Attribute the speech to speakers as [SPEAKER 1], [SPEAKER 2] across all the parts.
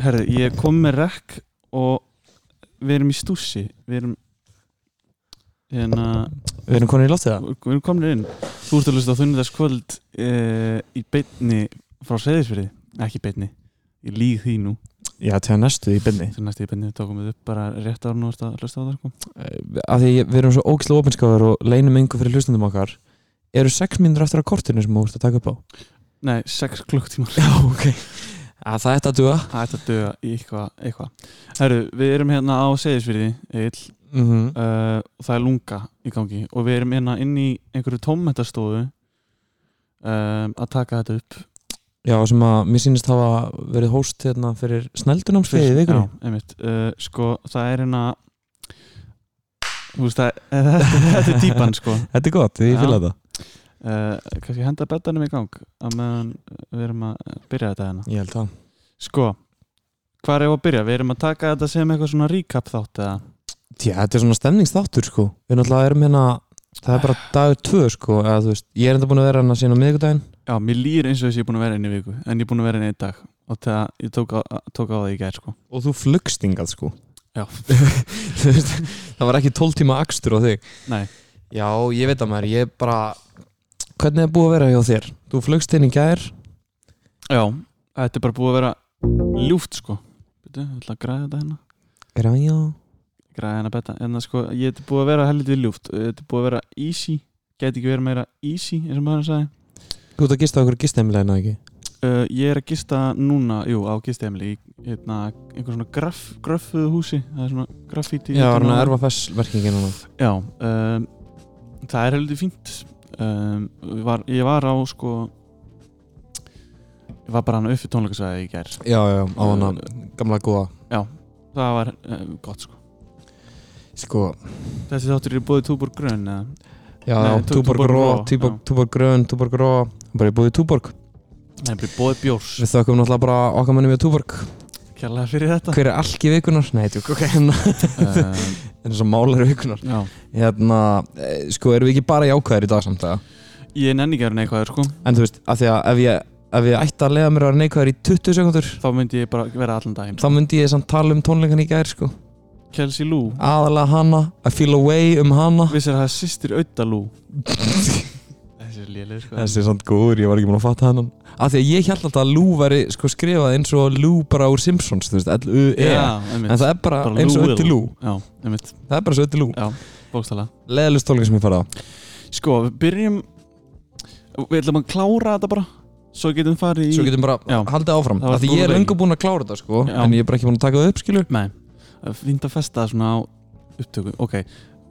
[SPEAKER 1] Herðu, ég kom með rekk og við erum í stússi Við erum hérna,
[SPEAKER 2] Við erum konin í loftið það
[SPEAKER 1] við erum komin inn Þú ert að lusta á þunnidaskvöld e, í beinni frá Seyðisfyrði ekki í beinni, ég líð því nú
[SPEAKER 2] Já, til að næstu í byrni
[SPEAKER 1] til næstu í beinni, við tókum við upp bara rétt ára nú ertu að lusta á það sko.
[SPEAKER 2] Eh, Af því við erum svo ógislega opinskáður og leinum engu fyrir hlustundum okkar Eru sex mínútur eftir að kortinu sem þú ert að taka upp á?
[SPEAKER 1] Nei, 6 klukktímar
[SPEAKER 2] Já, ok að Það er þetta að duga
[SPEAKER 1] Það ætti að döga í eitthvað, eitthvað Herru, við erum hérna á Seyðisfyrði Egil,
[SPEAKER 2] mm -hmm.
[SPEAKER 1] uh, og það er lunga í gangi og við erum hérna inn í einhverju tómmetastofu um, að taka þetta upp
[SPEAKER 2] Já, sem að mér sýnist hafa verið hóst hérna fyrir sneldunámsfeið í vikunni
[SPEAKER 1] Já, einmitt uh, Sko, það er hérna Þú veist, það, þetta, þetta er típan sko
[SPEAKER 2] Þetta er gott, ég
[SPEAKER 1] Já.
[SPEAKER 2] fylgða það
[SPEAKER 1] uh, Kannski henda betanum í gang að meðan við erum að byrja þetta hérna
[SPEAKER 2] Ég held það
[SPEAKER 1] Sko, hvað er að byrja? Við erum að taka þetta sem eitthvað svona recap þátt eða
[SPEAKER 2] Já, þetta er svona stemningsþáttur sko Við náttúrulega erum hérna Það er bara dagur tvö sko eða, þú veist, Ég er enda búin að vera hérna síðan á miðvikudaginn
[SPEAKER 1] Já, mér líður eins og þess að ég er búin að vera inn í viku en ég er búin að vera inn í einn dag og það, ég tók á, tók á það í gær sko
[SPEAKER 2] Og þú flugstingað sko
[SPEAKER 1] Já.
[SPEAKER 2] Þú veist, Það var ekki 12 tíma akstur á þig
[SPEAKER 1] Nei.
[SPEAKER 2] Já, ég veit að maður, ég bara Hvernig er búið að vera hjá þér? Þú flugst inn í gær
[SPEAKER 1] Já, þetta er bara búið að vera ljúft sko Býtu, ég ætla að græða þetta hérna
[SPEAKER 2] Græja
[SPEAKER 1] Græða hérna betta En það sko, ég þetta er búið að vera helviti ljúft Eh, Þetta er búið að vera easy Gæti ekki verið meira easy, eins og maður sagði
[SPEAKER 2] Þú ert að gista okkur gistemleina ekki?
[SPEAKER 1] uh, Ég er að gista núna, jú, á gistemli Í hérna, einhver svona graf, graffuðu húsi Það er svona graffiti
[SPEAKER 2] Já, hann að erfa fessverkingin núna
[SPEAKER 1] Já, um, það er heldur fínt um, ég var, Ég var á sko Ég var bara hann uppi tónleikasæði í gær Eh,
[SPEAKER 2] Já, já, á hann að Eh, gamla góða
[SPEAKER 1] Það var um, gott sko
[SPEAKER 2] Sko,
[SPEAKER 1] Þessi þáttur er búið túbor grön eða?
[SPEAKER 2] já,
[SPEAKER 1] Nei,
[SPEAKER 2] já,
[SPEAKER 1] Tú-
[SPEAKER 2] túborg
[SPEAKER 1] Túborg
[SPEAKER 2] ró,
[SPEAKER 1] Raw,
[SPEAKER 2] túborg-
[SPEAKER 1] já.
[SPEAKER 2] túborg grön, túborg ró Bara ég búið í túborg
[SPEAKER 1] Nei, búið bóðið bjórs
[SPEAKER 2] Við þökkum náttúrulega bara okkar mennum við túborg
[SPEAKER 1] Kjærlega fyrir þetta
[SPEAKER 2] Hver er algi vikunar? Nei, tjók, ok, en
[SPEAKER 1] um,
[SPEAKER 2] en svo málar vikunar
[SPEAKER 1] Já
[SPEAKER 2] Hérna, eh, sko, erum við ekki bara jákvæðir í dag samt að
[SPEAKER 1] Ég nenni ekki að vera neikvæður sko
[SPEAKER 2] En þú veist, af því að ef ég, ef ég ætti að leiða mér að vera neikvæður í 20 sekundur
[SPEAKER 1] Þá myndi ég bara vera allan daginn
[SPEAKER 2] Þá myndi ég samt tala um tónleikan í gær, sko
[SPEAKER 1] Kelsey Lou
[SPEAKER 2] Aðalega hana, I feel away um hana
[SPEAKER 1] Vissir að það er sýstir Ötta Lou Þessi er lélir sko
[SPEAKER 2] Þessi er samt góður, ég var ekki múin að fatta hennan Af því að ég held alltaf að Lou væri sko skrifað eins og Lou bara úr Simpsons, þú veist, L-U-E
[SPEAKER 1] Já, einmitt
[SPEAKER 2] En það er bara,
[SPEAKER 1] Bara
[SPEAKER 2] eins og
[SPEAKER 1] Lou
[SPEAKER 2] ötti
[SPEAKER 1] Will.
[SPEAKER 2] Lou
[SPEAKER 1] Já, einmitt
[SPEAKER 2] Það er bara eins og ötti Lou
[SPEAKER 1] Já, bókstala
[SPEAKER 2] Leðalust tónleika sem ég farið á
[SPEAKER 1] Sko, við byrjum Við ætlum að klára þetta bara Svo getum við farið í
[SPEAKER 2] Svo getum bara
[SPEAKER 1] Já.
[SPEAKER 2] haldið áfram
[SPEAKER 1] Það var
[SPEAKER 2] Af Því
[SPEAKER 1] góð
[SPEAKER 2] ég er
[SPEAKER 1] leið.
[SPEAKER 2] lengur búin að klára þetta, sko
[SPEAKER 1] Já.
[SPEAKER 2] En ég er bara ekki búin að taka það upp, sko. skilur
[SPEAKER 1] Nei, það er fínt að festa það svona á upptöku Ok,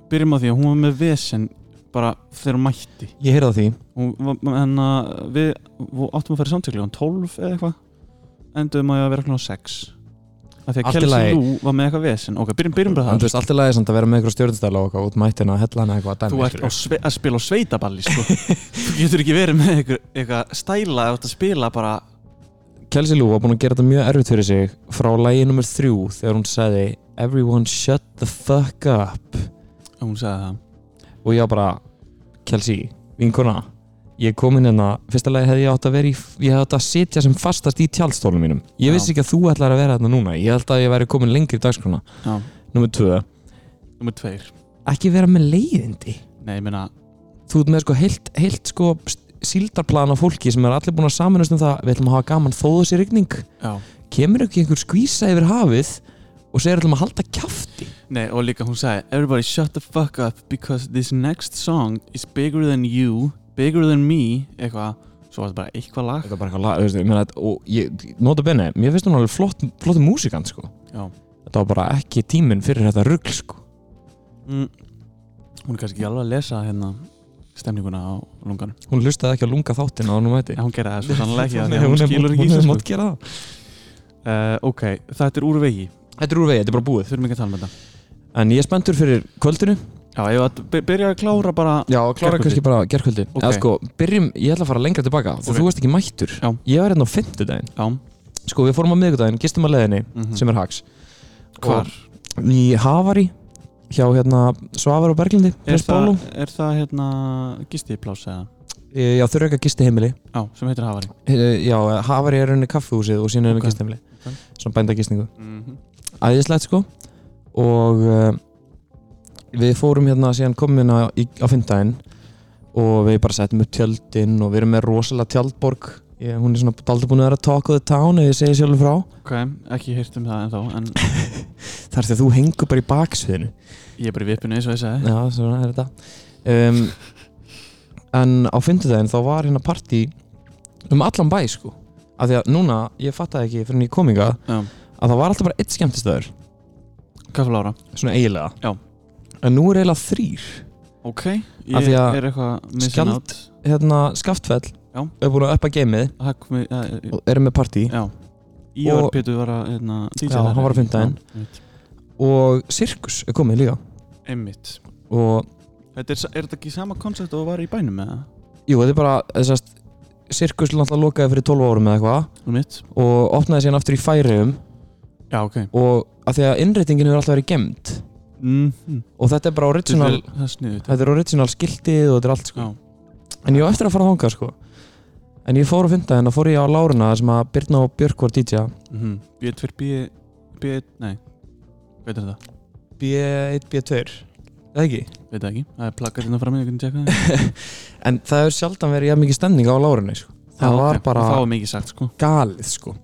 [SPEAKER 1] byrjum á því að hún var með vesen Bara þegar hún mætti
[SPEAKER 2] Ég heyrði að því
[SPEAKER 1] Hún var, En að við við áttum að fara í samtökli Hún 12 eða eitthvað Enduðum að vera klokkan á 6 Af því að
[SPEAKER 2] Allt í
[SPEAKER 1] Kelsey
[SPEAKER 2] lagi.
[SPEAKER 1] Lou var með eitthvað vesen Ok, byrjum, byrjum bara
[SPEAKER 2] En
[SPEAKER 1] það
[SPEAKER 2] þú veist, allt er lagið samt að vera með eitthvað stjórnstæla og eitthvað út mættina að hella hana eitthvað að dæmi,
[SPEAKER 1] Þú ert á
[SPEAKER 2] skilurðu.
[SPEAKER 1] sve, að spila á sveitaballi sko. Þú getur ekki verið með eitthvað, eitthvað stæla Þú ert að spila bara
[SPEAKER 2] Kelsey Lou var búin að gera þetta mjög erfitt fyrir sig frá lagi nummer þrjú þegar hún sagði Everyone shut the fuck up
[SPEAKER 1] Hún sagði það
[SPEAKER 2] og ég var bara Kelsey, vinkona ég kom inn hérna, fyrsta lagi hefði ég átt að vera í ég hefði átt að sitja sem fastast í tjálstólum mínum ég
[SPEAKER 1] Já.
[SPEAKER 2] vissi ekki að þú ætlar að vera hérna núna ég held að ég væri komin lengri í dagskrona
[SPEAKER 1] Já,
[SPEAKER 2] nummer tvö,
[SPEAKER 1] nummer tveir
[SPEAKER 2] ekki vera með leiðindi
[SPEAKER 1] Nei, ég meina,
[SPEAKER 2] þú ert með sko heilt, heilt sko síldarplan af fólki sem er allir búin að samanast um það við ætlum að hafa gaman þóðu sér rigning
[SPEAKER 1] já
[SPEAKER 2] kemur ekki einhver skvísa yfir hafið og segir ætlum að halda kjafti
[SPEAKER 1] Nei, og líka hún sagði Everybody shut the fuck up because this next song is bigger than you Bigger than me Eitthvað Svo var þetta bara eitthvað lag
[SPEAKER 2] Þetta er bara eitthvað lag, þú veist, ég meina, þetta- og ég, nota benni, mér finnst hún alveg flott, flott músikant, sko.
[SPEAKER 1] Já.
[SPEAKER 2] Þetta var bara ekki tíminn fyrir þetta rugl, sko.
[SPEAKER 1] mm. Hún er kannski ekki alveg að lesa hérna Stemninguna á lunganum
[SPEAKER 2] Hún hlustaði ekki að lunga þáttina á hún mæti.
[SPEAKER 1] En hún gerði það svo sannlega ekki af því
[SPEAKER 2] Nei,
[SPEAKER 1] að Hún
[SPEAKER 2] er-
[SPEAKER 1] skilur ekki sko.
[SPEAKER 2] Hún hefði
[SPEAKER 1] íslensku
[SPEAKER 2] mátt gera það.
[SPEAKER 1] uh, Ok, þetta er úr vegi
[SPEAKER 2] Þetta er úr vegi, þetta er bara búið.
[SPEAKER 1] Þurfum ekki að tala með þetta
[SPEAKER 2] En ég er spenntur fyrir kvöldinu.
[SPEAKER 1] Já, ég var að by- byrja að klára bara
[SPEAKER 2] Já, klára
[SPEAKER 1] Gærkvöldi.
[SPEAKER 2] kannski bara gerkvöldi.
[SPEAKER 1] Ok.
[SPEAKER 2] Eða sko, byrjum, ég ætla að fara lengra tilbaka, okay.
[SPEAKER 1] Ok.
[SPEAKER 2] þú veist ekki mættur.
[SPEAKER 1] Já.
[SPEAKER 2] Ég var hérna á fimmtudaginn.
[SPEAKER 1] Já
[SPEAKER 2] Sko, við fórum á miðgudaginn, gistum á leiðinni,
[SPEAKER 1] mhm.
[SPEAKER 2] sem er hags.
[SPEAKER 1] Hvar?
[SPEAKER 2] Í Havari, hjá hérna Svavar og Berglindi,
[SPEAKER 1] Er
[SPEAKER 2] Prins Bálum.
[SPEAKER 1] það, er það hérna gistiplása eða?
[SPEAKER 2] Já, þurfa ekki að gisti
[SPEAKER 1] Já, sem heitir Havari
[SPEAKER 2] Eh, Já, Havari er rauninni kaffehúsið og sína henni
[SPEAKER 1] Ok.
[SPEAKER 2] okay. gistemli svona bændagistningu
[SPEAKER 1] Mhm.
[SPEAKER 2] æðislegt sko og uh, við fórum hérna síðan komin á, í- á fyndaginn og við bara settum upp tjöldin og við erum með rosalega tjaldborg ég, hún er svona daldur búin að vera talk of the town ef ég segi sjálfur frá
[SPEAKER 1] Ok, ekki hýrt um það ennþá En
[SPEAKER 2] þar þegar þú hengur bara í baksviðinu
[SPEAKER 1] ég er bara í vippinu eins og ég sagði
[SPEAKER 2] já, svona er þetta um, en á fyndaginn þá var hérna partí um allan bæ sko af því að núna, ég fattaði ekki fyrir en ég kom hingað
[SPEAKER 1] Já.
[SPEAKER 2] að það var alltaf bara eitt skemmtistöður
[SPEAKER 1] Kaffalára
[SPEAKER 2] svona eiginlega
[SPEAKER 1] Já.
[SPEAKER 2] en nú er eiginlega þrýr
[SPEAKER 1] Ok,
[SPEAKER 2] Af
[SPEAKER 1] ég
[SPEAKER 2] því að
[SPEAKER 1] er eitthvað missin
[SPEAKER 2] skjald-
[SPEAKER 1] átt
[SPEAKER 2] hérna Skaftfell
[SPEAKER 1] Já.
[SPEAKER 2] er búin að uppa geimið
[SPEAKER 1] Hakk mig ja,
[SPEAKER 2] og erum með partí
[SPEAKER 1] Já eh, Ívar
[SPEAKER 2] Og-
[SPEAKER 1] Pétur var að hérna, DJ
[SPEAKER 2] Já,
[SPEAKER 1] þar.
[SPEAKER 2] hann var á fimmtudaginn.
[SPEAKER 1] Já, einmitt.
[SPEAKER 2] og Sirkus er komið líka
[SPEAKER 1] Einmitt
[SPEAKER 2] og
[SPEAKER 1] Þetta er, er þetta ekki sama koncept og var í bænum með það?
[SPEAKER 2] jú, þetta er bara þessast, Sirkus náttúrulega lokaði fyrir 12 árum eða eitthvað
[SPEAKER 1] Einmitt
[SPEAKER 2] og opnaði síðan aftur í færiðum
[SPEAKER 1] Já, ok
[SPEAKER 2] og að því að innreitingin hefur alltaf verið gemd
[SPEAKER 1] mm -hmm.
[SPEAKER 2] og þetta er bara original
[SPEAKER 1] Það er sniðut
[SPEAKER 2] þetta er original skiltið og þetta er allt sko.
[SPEAKER 1] Já,
[SPEAKER 2] en ég á eftir að fara þangað sko. en ég fór að fynda henn og fór ég á Láruna þar sem að Birna og Björk var DJ
[SPEAKER 1] mhm B2, B, B, nei Veit það það?
[SPEAKER 2] B1, B2 eða ekki?
[SPEAKER 1] Veit það ekki? Það er plakkað hérna fram í, ég kunni tjekka það
[SPEAKER 2] en það hefur sjaldan verið jafn mikið stemning á Láruna sko. það
[SPEAKER 1] Já,
[SPEAKER 2] var
[SPEAKER 1] ok.
[SPEAKER 2] bara
[SPEAKER 1] Það var mikið sagt, sko
[SPEAKER 2] galið sko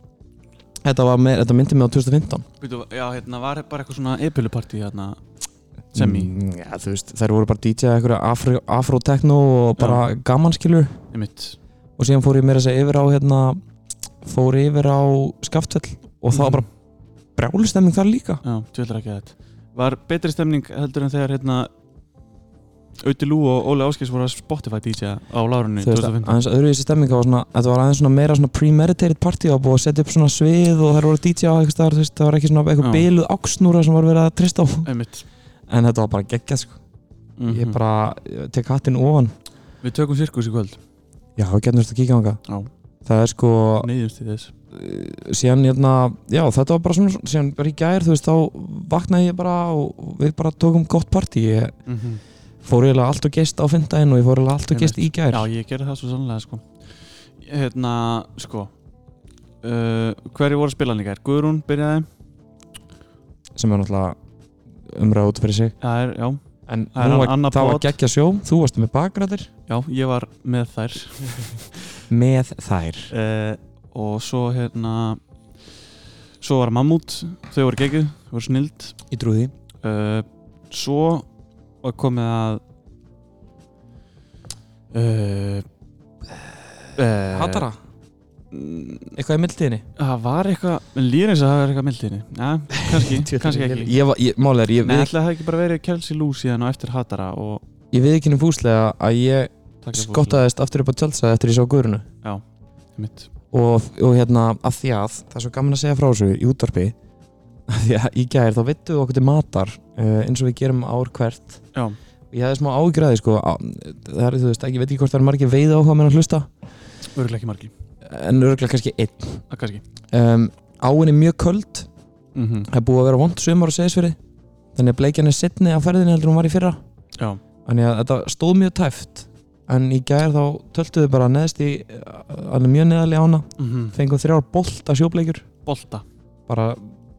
[SPEAKER 2] Þetta, var með, þetta myndi mig á 2015
[SPEAKER 1] Býtu, já, hérna var bara eitthvað svona epilupartí hérna Semi,
[SPEAKER 2] mm, Já, þú veist, þær voru bara DJ eitthvað afro, afro-techno og bara gamanskilur
[SPEAKER 1] einmitt
[SPEAKER 2] og síðan fór ég meira að segja yfir á hérna, fór yfir á Skaftfell og
[SPEAKER 1] Mhm.
[SPEAKER 2] það var bara brjálistemming þar líka
[SPEAKER 1] Já, tjóðlar ekki að þetta Var betri stemning heldur en þegar hérna Auti Lú og Óli Áskis voru að Spotify DJ á lárunni
[SPEAKER 2] Þú veist,
[SPEAKER 1] 2015
[SPEAKER 2] aðeins öðruvísi stemming það var svona, þetta var aðeins svona meira svona premeditated party og búið að setja upp svona svið og þær voru DJ á eitthvað staðar, þú veist, það var ekki svona
[SPEAKER 1] Já.
[SPEAKER 2] eitthvað biluð áksnúra sem var verið að trista á
[SPEAKER 1] Einmitt
[SPEAKER 2] en þetta var bara geggjað sko,
[SPEAKER 1] mm
[SPEAKER 2] ég bara ég tek hattinn ofan
[SPEAKER 1] Við tökum sirkus í kvöld
[SPEAKER 2] Já, við getum þetta að kíkja á
[SPEAKER 1] Já.
[SPEAKER 2] Það er sko,
[SPEAKER 1] Neyðumst í þess
[SPEAKER 2] síðan hérna, já þetta var bara svona, síðan bara í gær, þú veist, þá vaknaði ég bara og við bara tókum gott partí, ég
[SPEAKER 1] mm
[SPEAKER 2] fór eiginlega allt og gest á fyndaginn og ég fór eiginlega allt og gest í gær.
[SPEAKER 1] Já, ég gerði það svo sannlega sko Hérna, sko uh, Hverju voru að spila hann í gær? Guðrún byrjaði
[SPEAKER 2] Sem er náttúrulega umræða út fyrir sig.
[SPEAKER 1] Það er, já,
[SPEAKER 2] En
[SPEAKER 1] Það er
[SPEAKER 2] hún
[SPEAKER 1] hann
[SPEAKER 2] var,
[SPEAKER 1] Anna
[SPEAKER 2] það var
[SPEAKER 1] Bót.
[SPEAKER 2] geggja sjó, þú varst með bakræðir.
[SPEAKER 1] já, ég var með þær
[SPEAKER 2] Með þær.
[SPEAKER 1] uh, Og svo hérna Svo var Mammút Þau voru geggjuð, þau voru snild
[SPEAKER 2] Í trúði.
[SPEAKER 1] uh, Svo var komið að uh, uh,
[SPEAKER 2] Hattara, eitthvað í mildtíðinni.
[SPEAKER 1] Það var eitthvað, en líður eins og það var eitthvað mildiðinni Já, kannski, kannski ekki
[SPEAKER 2] Ég var, ég, málega, ég,
[SPEAKER 1] Nei,
[SPEAKER 2] við,
[SPEAKER 1] ætlaði það ekki bara verið Kelsey Lou síðan og eftir Hatara og
[SPEAKER 2] ég við ekki fúslega að ég
[SPEAKER 1] Taka fólk.
[SPEAKER 2] skottaðist aftur upp á tjálsaði eftir ég sá guðrunu.
[SPEAKER 1] Einmitt.
[SPEAKER 2] og, og hérna af því að það er svo gaman að segja frá þessu í útvarpi af því að í gær þá vittum við okkur til matar uh, eins og við gerum ár hvert
[SPEAKER 1] Já,
[SPEAKER 2] ég hefði smá ágræði sko á, það er þú veist, ekki, ég veit ekki hvort það er margir veið áhuga með að hlusta
[SPEAKER 1] örgulega ekki margir
[SPEAKER 2] en örgulega kannski einn
[SPEAKER 1] Það kannski
[SPEAKER 2] um, áin er mjög köld,
[SPEAKER 1] mm
[SPEAKER 2] það er búið að vera vond sumar og segisfyrir þannig að bleikjan er setni á ferðinni heldur en hún var í fyrra
[SPEAKER 1] Já,
[SPEAKER 2] þannig að þetta stóð mjög tæft en í gær þá töltuðu bara neðst í uh, alveg mjög neðalega ána
[SPEAKER 1] mm
[SPEAKER 2] fengum þrjár bolt af sjóbleikjur
[SPEAKER 1] bolta
[SPEAKER 2] bara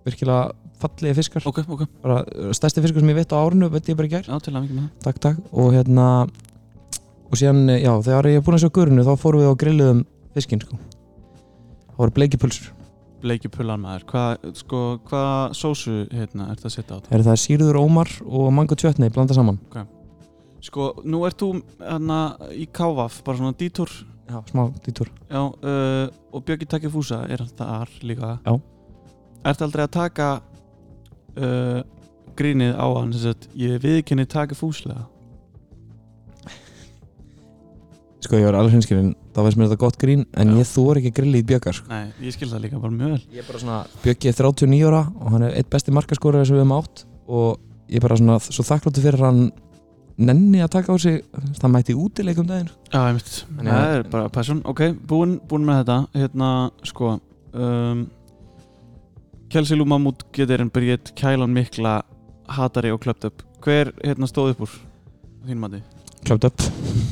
[SPEAKER 2] virkilega fallegi fiskar
[SPEAKER 1] Ok, ok,
[SPEAKER 2] bara uh, stærsti fiskur sem ég veit á árinu veit ég bara í gær,
[SPEAKER 1] já, til að mikið með
[SPEAKER 2] takk takk og hérna og síðan, eh, já, þegar ég er búin að sjá gurinu þá fórum við og grilluðum fiskinn sko það voru bleikipulsur
[SPEAKER 1] það Bleiki pullan maður, hvað, sko, hvað sósu hérna ert að setja á það?
[SPEAKER 2] er það sírður ómar og mango tjötni blanda saman,
[SPEAKER 1] Sko, nú ert þú hérna í Kávaf, bara svona dítúr
[SPEAKER 2] já, smá dítur
[SPEAKER 1] Já, uh, og Björki takkir fúsa er þar líka
[SPEAKER 2] Já.
[SPEAKER 1] Ertu aldrei að taka uh, grínið á hann sem sagt, ég viðkynni takkir fúslega
[SPEAKER 2] sko ég var alveg hinskilin, þá veist mér þetta gott grín en
[SPEAKER 1] Já.
[SPEAKER 2] ég þór ekki að grilla í bjökar sko.
[SPEAKER 1] Nei, ég skil það líka bara mjög vel
[SPEAKER 2] ég er bara svona, bjöki er 39 ára og hann er eitt besti markaskóraði sem við höfum átt og ég er bara svona, svo þakkláttu fyrir að hann nenni að taka á sig það mætti útileikum daginn
[SPEAKER 1] Já, einmitt,
[SPEAKER 2] Þannig að-
[SPEAKER 1] það er bara passion Ok, búinn búin með þetta Hérna, sko um, Kelsey Lou Mammut Getirinn Briett, Kælan Mikla Hatari og Klöpt upp Hver hérna stóð upp úr? Á Þínu mati
[SPEAKER 2] klöpt upp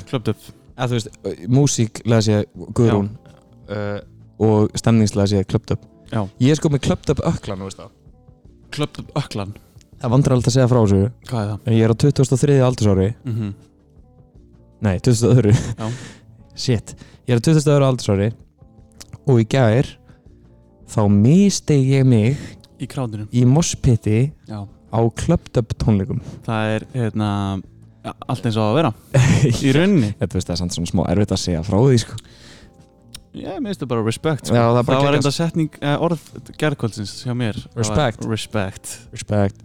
[SPEAKER 1] Klöpt upp
[SPEAKER 2] eða þú veist, músíklega sé Guðrún uh, og stemningslega sé klöpt upp
[SPEAKER 1] Já.
[SPEAKER 2] ég er sko með klöpt upp öklan þú veist það.
[SPEAKER 1] Klöptum öklan
[SPEAKER 2] það vandrar alltaf að segja frá þessu
[SPEAKER 1] Hvað er það?
[SPEAKER 2] en ég er á 23. aldursári
[SPEAKER 1] Mm -hmm.
[SPEAKER 2] nei, 22.
[SPEAKER 1] Já.
[SPEAKER 2] shit, ég er á 22. aldursári og í gær þá misteg ég mig
[SPEAKER 1] Í krádinu
[SPEAKER 2] í morspitti
[SPEAKER 1] Já
[SPEAKER 2] á klöpt upp tónleikum
[SPEAKER 1] Það er hérna a- Allt eins og á að vera Í rauninni
[SPEAKER 2] þetta veist það er samt svona smá erfitt að segja frá því sko.
[SPEAKER 1] Já, mér finnst það bara respect sko.
[SPEAKER 2] Já, það
[SPEAKER 1] það
[SPEAKER 2] er bara
[SPEAKER 1] var
[SPEAKER 2] geggjað.
[SPEAKER 1] enda setning eh, orð gerðkvöldsins hjá mér Það var
[SPEAKER 2] Respect.
[SPEAKER 1] Respect
[SPEAKER 2] respect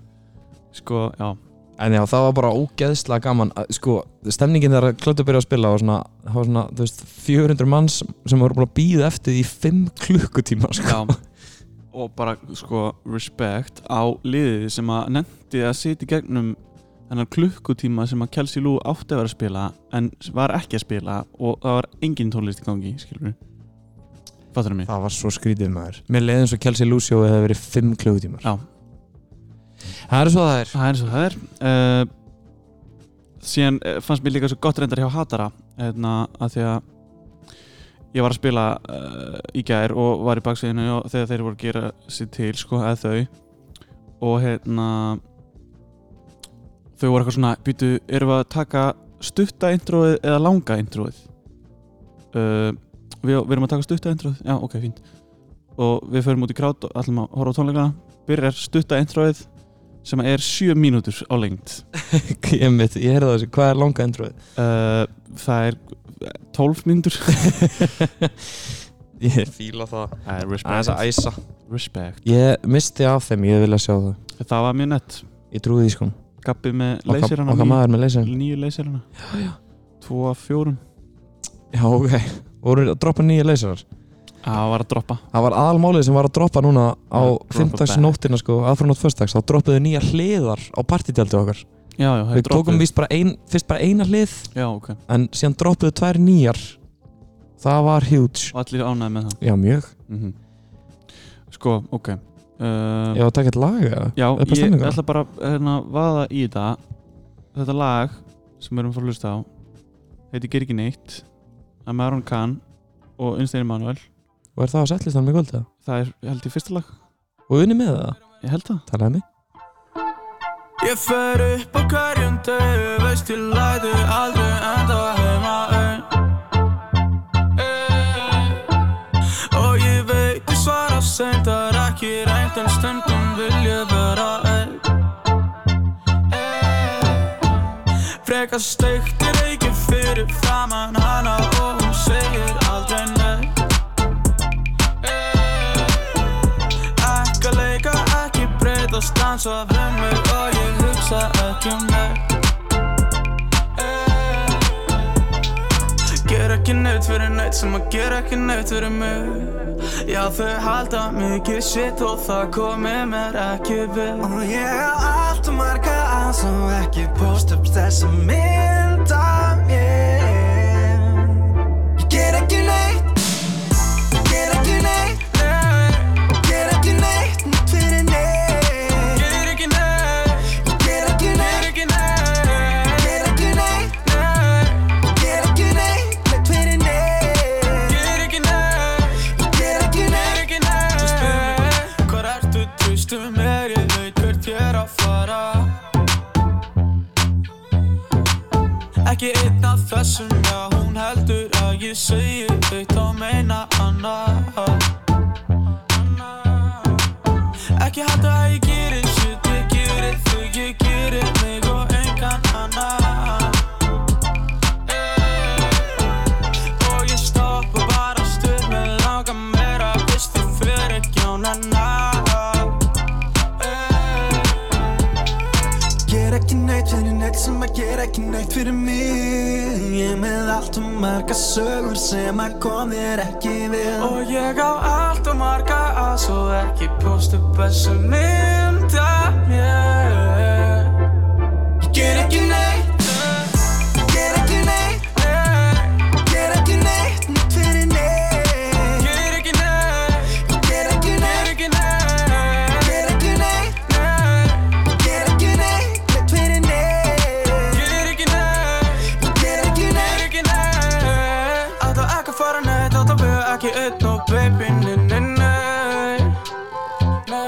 [SPEAKER 1] Sko, já
[SPEAKER 2] En já, það var bara ógeðslega gaman að, Sko, stemningin þegar klötu byrja að spila var svona, það var svona, þú veist, 400 manns sem voru búin að býða eftir því í 5 klukkutíma, sko
[SPEAKER 1] Já Og bara sko respect á liðið sem að nefndi að sitja í gegnum þennan klukkutíma sem að Kelsey Lou átti að vera að spila en var ekki að spila og það var engin tónlist í gangi, skilur við Fattur mig?
[SPEAKER 2] Það var svo skrítið maður Mér leiði eins og Kelsey Lucio hefði verið 5 klukkutímar
[SPEAKER 1] Já.
[SPEAKER 2] Það er svo það er
[SPEAKER 1] Það er eins og það er uh, Síðan eh, fannst mér líka svo gott reyndar hjá Hatara hérna, að því að ég var að spila uh, í gær og var í baksveginu og þegar þeir voru að gera sér til sko, eða þau og hérna þau voru eitthvað svona býtu, erum við að taka stutta introið eða langa introið uh, við, við erum að taka stutta introið já, ok, fínt og við förum út í krát og ætlum að horfa á tónleikana byrjar stutta introið sem er 7 mínútur á lengt
[SPEAKER 2] Ég mitt, ég heyrði það þessu, hvað er langa endröð?
[SPEAKER 1] uh, það er 12 mínútur
[SPEAKER 2] ég fíla það
[SPEAKER 1] það er
[SPEAKER 2] Það er þess að æsa
[SPEAKER 1] respect.
[SPEAKER 2] Ég misti af þeim, ég vilja sjá það
[SPEAKER 1] það var mjög nett
[SPEAKER 2] Ég trúði því, sko
[SPEAKER 1] Gabbi með
[SPEAKER 2] Okkar
[SPEAKER 1] leysirana
[SPEAKER 2] okkar maður með leysir
[SPEAKER 1] nýju leysirana
[SPEAKER 2] Já, já
[SPEAKER 1] 2 af 4
[SPEAKER 2] Já, ok Voru að droppa nýja leysirar
[SPEAKER 1] það var að droppa
[SPEAKER 2] Það var aðalmálið sem var að droppa núna á
[SPEAKER 1] Drop a
[SPEAKER 2] fimmtagsnóttina sko, aðframnátt föstags, þá droppuðu nýja hliðar á partítjaldi okkar.
[SPEAKER 1] já, já,
[SPEAKER 2] Við tókum víst bara ein, fyrst bara eina hlið,
[SPEAKER 1] já, ok
[SPEAKER 2] en síðan droppuðu tvær nýjar. Það var huge.
[SPEAKER 1] og allir ánæði með það
[SPEAKER 2] Já, mjög.
[SPEAKER 1] mm sko, ok uh,
[SPEAKER 2] Ég var að taka eitt lag eða?
[SPEAKER 1] Já,
[SPEAKER 2] bara
[SPEAKER 1] ég
[SPEAKER 2] stemninguna.
[SPEAKER 1] ætla bara hérna, vaða í þetta Þetta lag sem við erum fór að hlusta á heitir Ger ekki neitt að Maron Kahn og Unstein Manuel
[SPEAKER 2] Og er það á settlistan með kvölda?
[SPEAKER 1] það er held ég fyrsta lag
[SPEAKER 2] Og unni með það?
[SPEAKER 1] ég held það
[SPEAKER 2] Talaði mig.
[SPEAKER 3] Ég fer upp á hverjum degi, veist ég lætu aldrei enda heima ein Og ég veit ég svara seint, það er ekki reynd en stundum vil ég vera ein Frekar steikt er ekki fyrir framann hana og hún segir aldrei nei Ekki að leika, ekki breytast dansa við mig og ég hugsa ekki um neitt Ger ekki neitt fyrir neitt sem að gera ekki neitt fyrir mig Já þau halda mikið shit og það komi mér ekki við
[SPEAKER 4] Og ég á allt og marga alls og ekki post upp þess að mynda mér Ég ger ekki neitt Ég ger ekki neitt
[SPEAKER 3] Nei,
[SPEAKER 4] Ég ger ekki neitt Neitt fyrir neitt
[SPEAKER 3] ger ekki neitt,
[SPEAKER 4] Ég ger ekki
[SPEAKER 3] ger
[SPEAKER 4] neitt
[SPEAKER 3] ekki neitt
[SPEAKER 4] Ég ger ekki neitt
[SPEAKER 3] Nei,
[SPEAKER 4] Ég ger ekki neitt Neitt fyrir neitt
[SPEAKER 3] ger ekki neitt
[SPEAKER 4] Ég ger ekki
[SPEAKER 3] er
[SPEAKER 4] neitt
[SPEAKER 3] ekki neitt Þú spyrir mig, hvar ertu, treystu mér Ég veit hvert ég er að fara Ekki einn af þessum, já hún heldur að ég segi eitt og meina annað Ekki halda að ég geri shit, ég geri þig, ég geri mig og engan annan Og ég stoppa bara stuð með langa meira Vist ég fyrir ekki á nanna
[SPEAKER 4] Ger ekki neitt fyrir neitt sem að gera ekki neitt fyrir mig Ég er með allt og marga sögur sem að kom þér ekki við
[SPEAKER 3] Og ég á allt og marga að Svo ekki postu bestu mynda mér
[SPEAKER 4] Ég ger ekki neitt Ég ger ekki neitt
[SPEAKER 3] Nei,
[SPEAKER 4] Ég ger ekki neitt neitt fyrir neitt
[SPEAKER 3] Ger ekki neitt,
[SPEAKER 4] Ég ger ekki
[SPEAKER 3] ger
[SPEAKER 4] neitt
[SPEAKER 3] ekki neitt
[SPEAKER 4] Ég ger ekki neitt
[SPEAKER 3] Nei,
[SPEAKER 4] Ég ger ekki neitt neitt fyrir neitt
[SPEAKER 3] ger ekki neitt
[SPEAKER 4] Ég ger ekki neitt
[SPEAKER 3] ekki neitt Átt að ekki fara neitt, átt að vera ekki einn og baby, nei, nei, nei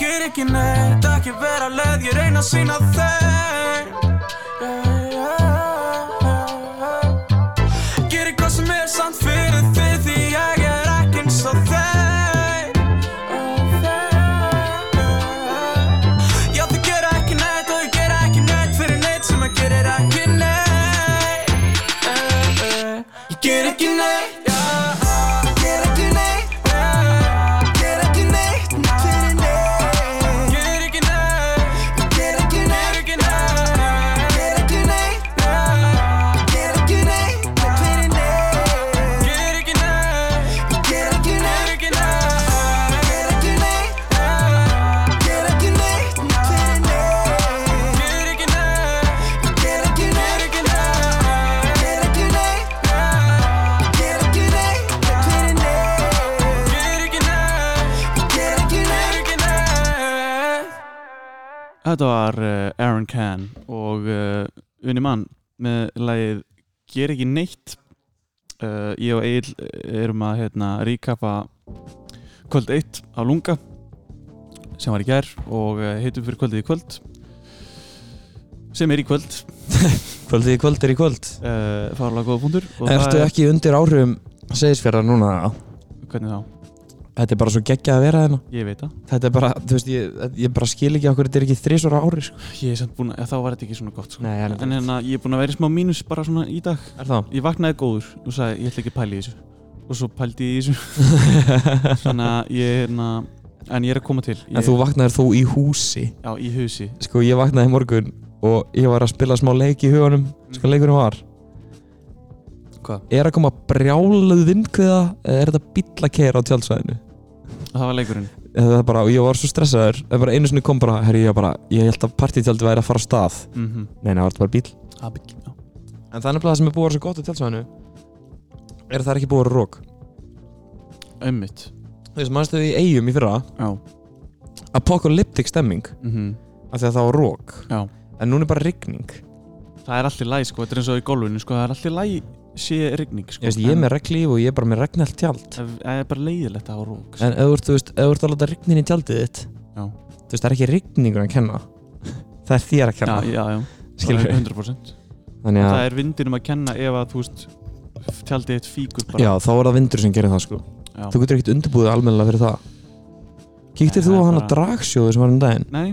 [SPEAKER 3] ger ekki neitt Ekki vera leið, ég reyna að sína þeim yeah, yeah, yeah. Gerir hvað sem er samt fyrir þið Því ég er ekki eins og þeim Já, þau gera ekki neitt og ég gera ekki neitt Fyrir neitt sem að gerir ekki neitt Ég ger ekki neitt yeah.
[SPEAKER 4] Get ekki neitt, get ekki neitt Fyrir neitt
[SPEAKER 3] Get it connect,
[SPEAKER 4] Get ekki
[SPEAKER 3] get
[SPEAKER 4] neitt,
[SPEAKER 3] it connect,
[SPEAKER 4] get ekki neitt Get ekki neitt Fyrir neitt
[SPEAKER 3] get it connect,
[SPEAKER 4] Get ekki
[SPEAKER 3] get
[SPEAKER 4] neitt,
[SPEAKER 3] it connect,
[SPEAKER 4] get ekki neitt Get ekki neitt Fyrir neitt
[SPEAKER 3] get it
[SPEAKER 4] Get ekki neitt, get ekki neitt Get ekki
[SPEAKER 3] connect, get it connect,
[SPEAKER 4] neitt Fyrir neitt
[SPEAKER 3] get it
[SPEAKER 4] Get
[SPEAKER 3] connect,
[SPEAKER 4] ekki
[SPEAKER 3] get
[SPEAKER 4] neitt
[SPEAKER 3] it connect.
[SPEAKER 1] Þetta var eh, Aaron Can og uh, unni mann með lagið Ger ekki neitt uh, Ég og Egil erum að hérna, ríkapa kvöld 1 á Lunga sem var í gær og uh, heitum fyrir kvöldið í kvöld sem er í kvöld
[SPEAKER 2] Kvöldið í kvöld er í kvöld
[SPEAKER 1] uh, fárlega góða punktur og það
[SPEAKER 2] Ertu
[SPEAKER 1] er,
[SPEAKER 2] ekki undir áhrifum segisfjörðar núna?
[SPEAKER 1] Hvernig þá?
[SPEAKER 2] Þetta er bara svo geggjað að vera þeirna
[SPEAKER 1] Ég veit það
[SPEAKER 2] Þetta er bara, þú veist, ég, ég bara skil ekki okkur Þetta er ekki þrísvara ári, sko
[SPEAKER 1] Ég er samt búin að, þá var þetta ekki svona gott sko.
[SPEAKER 2] Nei, ég er
[SPEAKER 1] En hérna, ég er búin að vera í smá mínus bara svona í dag
[SPEAKER 2] Er það?
[SPEAKER 1] Ég vaknaði góður og sagði ég ætla ekki að pæla í þessu og svo pældi ég í þessu þannig að ég er na, en ég er að koma til ég,
[SPEAKER 2] En þú vaknaðir þó í húsi
[SPEAKER 1] já, í hausi
[SPEAKER 2] Sko, ég vaknaði í morgun Og ég var að spila smá leik í huganum Sko, leikurinn var
[SPEAKER 1] Mm. Hvað?
[SPEAKER 2] Er að koma brjáluð vindkviða eða Er þetta bíllakeir á tjálsvæðinu?
[SPEAKER 1] það var leikurinn
[SPEAKER 2] Það er bara, og ég var svo stressaður Það er bara einu sinni kom bara, herri, ég var bara Ég held að partítjaldi væri að fara á stað
[SPEAKER 1] mm -hmm.
[SPEAKER 2] Nei, það var þetta bara bíl
[SPEAKER 1] já.
[SPEAKER 2] En það er nefnilega það sem er búið að vera svo gott á tjálsvæðinu Er að það er ekki búið að vera rók
[SPEAKER 1] ömmit
[SPEAKER 2] Þú veist, mannstu við í eigum í fyrra
[SPEAKER 1] já.
[SPEAKER 2] Apocalyptic stemming
[SPEAKER 1] Mm
[SPEAKER 2] Af því að það var rók
[SPEAKER 1] já
[SPEAKER 2] En núna er bara rigning
[SPEAKER 1] það er allir læg sko þetta er eins og í golfinu sko það er allir læg sé rigning sko
[SPEAKER 2] Ég veist, ég er með reglíf og ég er bara með regnalt tjald
[SPEAKER 1] það það er bara leiðilegt að hafa rók sko.
[SPEAKER 2] En ef þú ert, þú veist, ef þú ert að láta rignin í tjaldið þitt
[SPEAKER 1] Já.
[SPEAKER 2] Þú veist, það er ekki rigningur að kenna Það er þér að
[SPEAKER 1] já,
[SPEAKER 2] kenna
[SPEAKER 1] já, já
[SPEAKER 2] Skilur
[SPEAKER 1] bara
[SPEAKER 2] við
[SPEAKER 1] 100%
[SPEAKER 2] Þannig
[SPEAKER 1] það
[SPEAKER 2] að,
[SPEAKER 1] er vindinum að kenna ef að þú veist tjaldið eitt fíkur bara
[SPEAKER 2] já, þá er það vindur sem gerir það, sko
[SPEAKER 1] Já.
[SPEAKER 2] Þú getur ekkert undirbúðið almennilega fyrir það Kíktir
[SPEAKER 1] Nei,
[SPEAKER 2] þú
[SPEAKER 1] það
[SPEAKER 2] á
[SPEAKER 1] er
[SPEAKER 2] hana
[SPEAKER 1] bara-
[SPEAKER 2] dragsjóðu sem var um daginn?
[SPEAKER 1] nei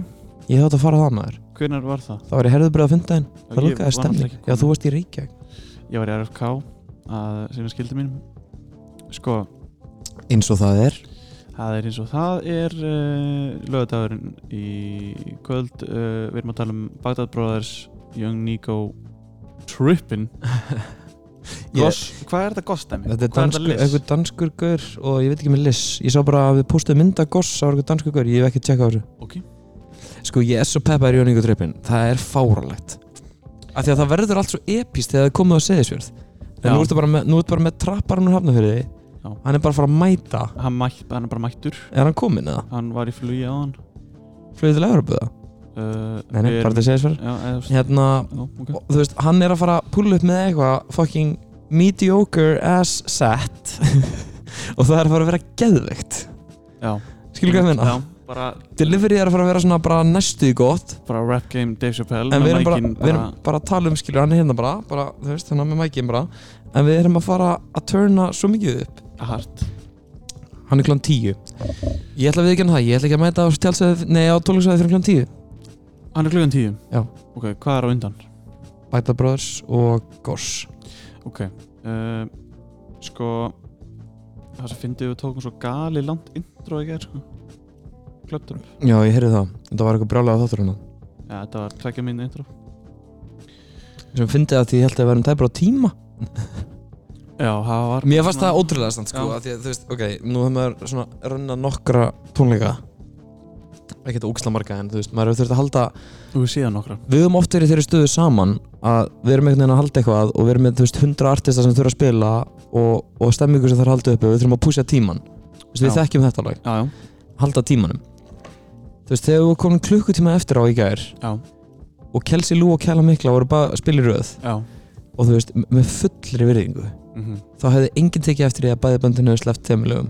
[SPEAKER 2] Ég þátt að fara það maður
[SPEAKER 1] hvenær var það
[SPEAKER 2] Það var í herðubrið á fundaginn
[SPEAKER 1] Ég
[SPEAKER 2] Það lukkaði
[SPEAKER 1] var náttúrulega
[SPEAKER 2] stemning
[SPEAKER 1] ekki
[SPEAKER 2] Já,
[SPEAKER 1] komin.
[SPEAKER 2] þú varst í Reykjavík
[SPEAKER 1] ég var í RFK að, sem er skildi mínum sko
[SPEAKER 2] Eins og það er
[SPEAKER 1] Það er eins og það er uh, lögadagurinn í kvöld uh, Við erum að tala um Bagdad Brothers, Young Nico, Trippin Goss, Hvað er þetta gossdæmi?
[SPEAKER 2] Þetta er
[SPEAKER 1] Hvað
[SPEAKER 2] danskur,
[SPEAKER 1] er þetta
[SPEAKER 2] einhver danskur gaur og ég veit ekki með liss Ég sá bara að við postuðum mynda goss á einhver danskur gaur Ég hef ekki tjekkað á þessu
[SPEAKER 1] lis? Ok,
[SPEAKER 2] Sko ég er svo peppar í Jóníku trippin Það er fáralegt Af því að það verður allt svo epíst þegar það er komið á seðisfjörð En
[SPEAKER 1] Já.
[SPEAKER 2] nú ertu bara með, nú ertu bara með trapparinn úr hafnafyrði
[SPEAKER 1] Já.
[SPEAKER 2] Hann er bara að fara að mæta
[SPEAKER 1] hann, mætt, hann er bara mættur
[SPEAKER 2] Er hann kominn eða?
[SPEAKER 1] Hann var í flugi á hann
[SPEAKER 2] Flöðu til Európa það?
[SPEAKER 1] uh,
[SPEAKER 2] Nei, nei,
[SPEAKER 1] við
[SPEAKER 2] bara
[SPEAKER 1] erum-
[SPEAKER 2] til seðisfjörð
[SPEAKER 1] Já, eða, þú veist-
[SPEAKER 2] Hérna,
[SPEAKER 1] já, ok
[SPEAKER 2] og, þú veist, hann er að fara að pulla upp með eitthvað fucking mediocre ass set og það er að fara að vera geðveikt
[SPEAKER 1] Já,
[SPEAKER 2] skilur hvað ég minna?
[SPEAKER 1] Já, bara,
[SPEAKER 2] Delivery er að fara að vera svona bara næstuði gott
[SPEAKER 1] bara rap game Dave Chappelle
[SPEAKER 2] en
[SPEAKER 1] með
[SPEAKER 2] við erum bara,
[SPEAKER 1] mækinn
[SPEAKER 2] við erum bara að tala um skilur hann er hérna bara, bara þú veist, hann er með mækin bara en við erum að fara að turna svo mikið upp
[SPEAKER 1] hart
[SPEAKER 2] hann er klán 10 ég ætla að viðkjanna það, ég ætla ekki að mæta á stjálsæði nei á tónlíksæði fyrir klán 10
[SPEAKER 1] Hann er klukkan tíu?
[SPEAKER 2] Já.
[SPEAKER 1] Ok, hvað er á undan?
[SPEAKER 2] Bæta Brothers og Goss
[SPEAKER 1] Ok uh, Sko Það sem fyndið við tókum svo gali langt intro í gerð sko. Klöptur upp
[SPEAKER 2] já ég heyrði það, þetta var eitthvað brjálega þáttur hérna. hann
[SPEAKER 1] Já, þetta var tvekja mínu intro
[SPEAKER 2] sem fyndið að því ég held að við erum tæpur á tíma
[SPEAKER 1] Já, það var
[SPEAKER 2] Mér fannst það ótrúlega stand sko
[SPEAKER 1] Já.
[SPEAKER 2] að því að þú veist, ok, nú hefur maður svona runna nokkra tónleika ekkert ógisla marga en þú veist, maður hefur þurft að halda
[SPEAKER 1] Þú hefur síðan nokkra
[SPEAKER 2] við höfum oft verið í þeirri stöðu saman að við erum einhvern veginn að halda eitthvað og við erum með þú veist 100 artista sem þurfa að spila og, og stemmingu sem þarf að halda uppi og við þurfum að púsja tíman þú veist, við
[SPEAKER 1] Já.
[SPEAKER 2] þekkjum þetta alveg,
[SPEAKER 1] Já, já,
[SPEAKER 2] halda tímanum þú veist, þegar við komum klukkutíma eftir á í gær
[SPEAKER 1] Já.
[SPEAKER 2] og Kelsey Lou og Kæla Mikla voru bara að spila í röð
[SPEAKER 1] já
[SPEAKER 2] og þú veist, með fullri virðingu
[SPEAKER 1] mm
[SPEAKER 2] þá hefði enginn tekið eftir því að bæði böndinu hefði sleppt þeim lögum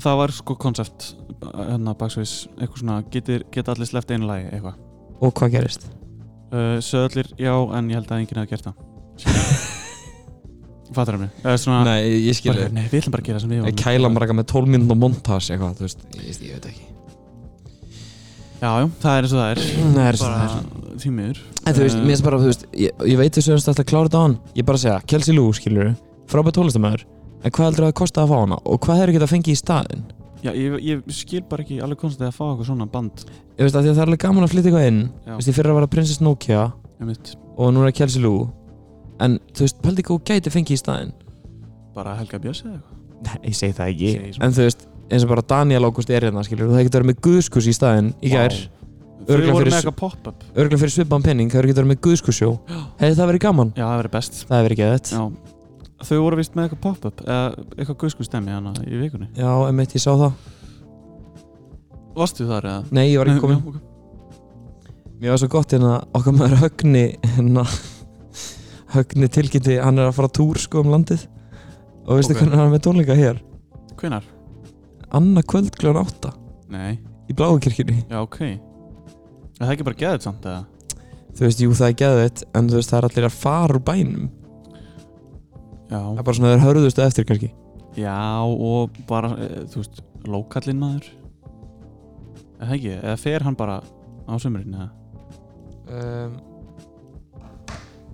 [SPEAKER 1] það var sko koncept hérna baksveis, eitthvað svona getur, geta allir sleppt einu lagi, eitthvað
[SPEAKER 2] Og hvað gerist?
[SPEAKER 1] uh, Söðlir, já, en ég held að enginn hafi gert það Fattar það mig? Eða svona,
[SPEAKER 2] Nei, ég- ég skil
[SPEAKER 1] bara, nei, við ætlum bara að gera sem við vorum
[SPEAKER 2] Kæla marga með 12 mínútur montas eitthvað, þú veist Ég, ég veit ekki
[SPEAKER 1] Já, já, það er eins og það er
[SPEAKER 2] Nei, það er svo það er
[SPEAKER 1] bara tímiður
[SPEAKER 2] En þú veist, mér finnst bara, þú veist, ég, ég veit þessu að þetta að klára þetta á hann Ég bara segja, Kelsey Lou, skilur við, frábæð tónlistamæður En hvað heldur að það kosta að fá hana? Og hvað hefur getað að fengi í staðinn?
[SPEAKER 1] Já, ég, ég skil bara ekki alveg konstið að fá eitthvað svona band
[SPEAKER 2] Ég veist, af því að það er alveg gaman að flytja eitthvað inn
[SPEAKER 1] Já.
[SPEAKER 2] Þú veist, ég fyrir að vara Princess Nokia
[SPEAKER 1] einmitt,
[SPEAKER 2] Og nú er það Kelsey Lou En, þú veist, pældi hvað hún gæti fengi í staðinn
[SPEAKER 1] bara Helga Björns eða eitthvað
[SPEAKER 2] Nei, ég segi það
[SPEAKER 1] ekki. Segi svona.
[SPEAKER 2] En þú veist, eins og bara Daniel Ágúst er hérna, skilur við, Það hefur getað verið með guðskus í staðinn í gær
[SPEAKER 1] Þau
[SPEAKER 2] Örugglega
[SPEAKER 1] voru
[SPEAKER 2] fyrir
[SPEAKER 1] með
[SPEAKER 2] s-
[SPEAKER 1] eitthvað pop-up
[SPEAKER 2] örgulega fyrir svipaðan penning það eru ekki verið með guðskussjó hefði það verið gaman?
[SPEAKER 1] Já, það verið best
[SPEAKER 2] Það hefði verið geðið
[SPEAKER 1] Já, þau voru vist með eitthvað pop-up eða eitthvað guðskustemi hana í vikunni
[SPEAKER 2] Já, emitt, ég sá það
[SPEAKER 1] Varstu þar eða?
[SPEAKER 2] Nei, ég var ekki komin
[SPEAKER 1] já, ok.
[SPEAKER 2] Mér var svo gott hérna okkar maður Högni hérna Högni tilkynnti, hann er að fara á túr sko um landið og veistu
[SPEAKER 1] Ok.
[SPEAKER 2] hvernig hann er með tónleika hér?
[SPEAKER 1] Hvenær?
[SPEAKER 2] Anna kvöld kljóðan átta
[SPEAKER 1] Nei,
[SPEAKER 2] í Bláukirkjunni
[SPEAKER 1] já ok Er það ekki bara geðið samt eða?
[SPEAKER 2] Þú veist, jú það er geðið en þú veist það er allir að fara úr bænum Það
[SPEAKER 1] Já,
[SPEAKER 2] er bara svona þeir hörðustu eftir kannski
[SPEAKER 1] já og bara, eh, þú veist, lókallinn maður Er það ekki? Eða fer hann bara á sömurinn eða? Ehm.
[SPEAKER 2] um,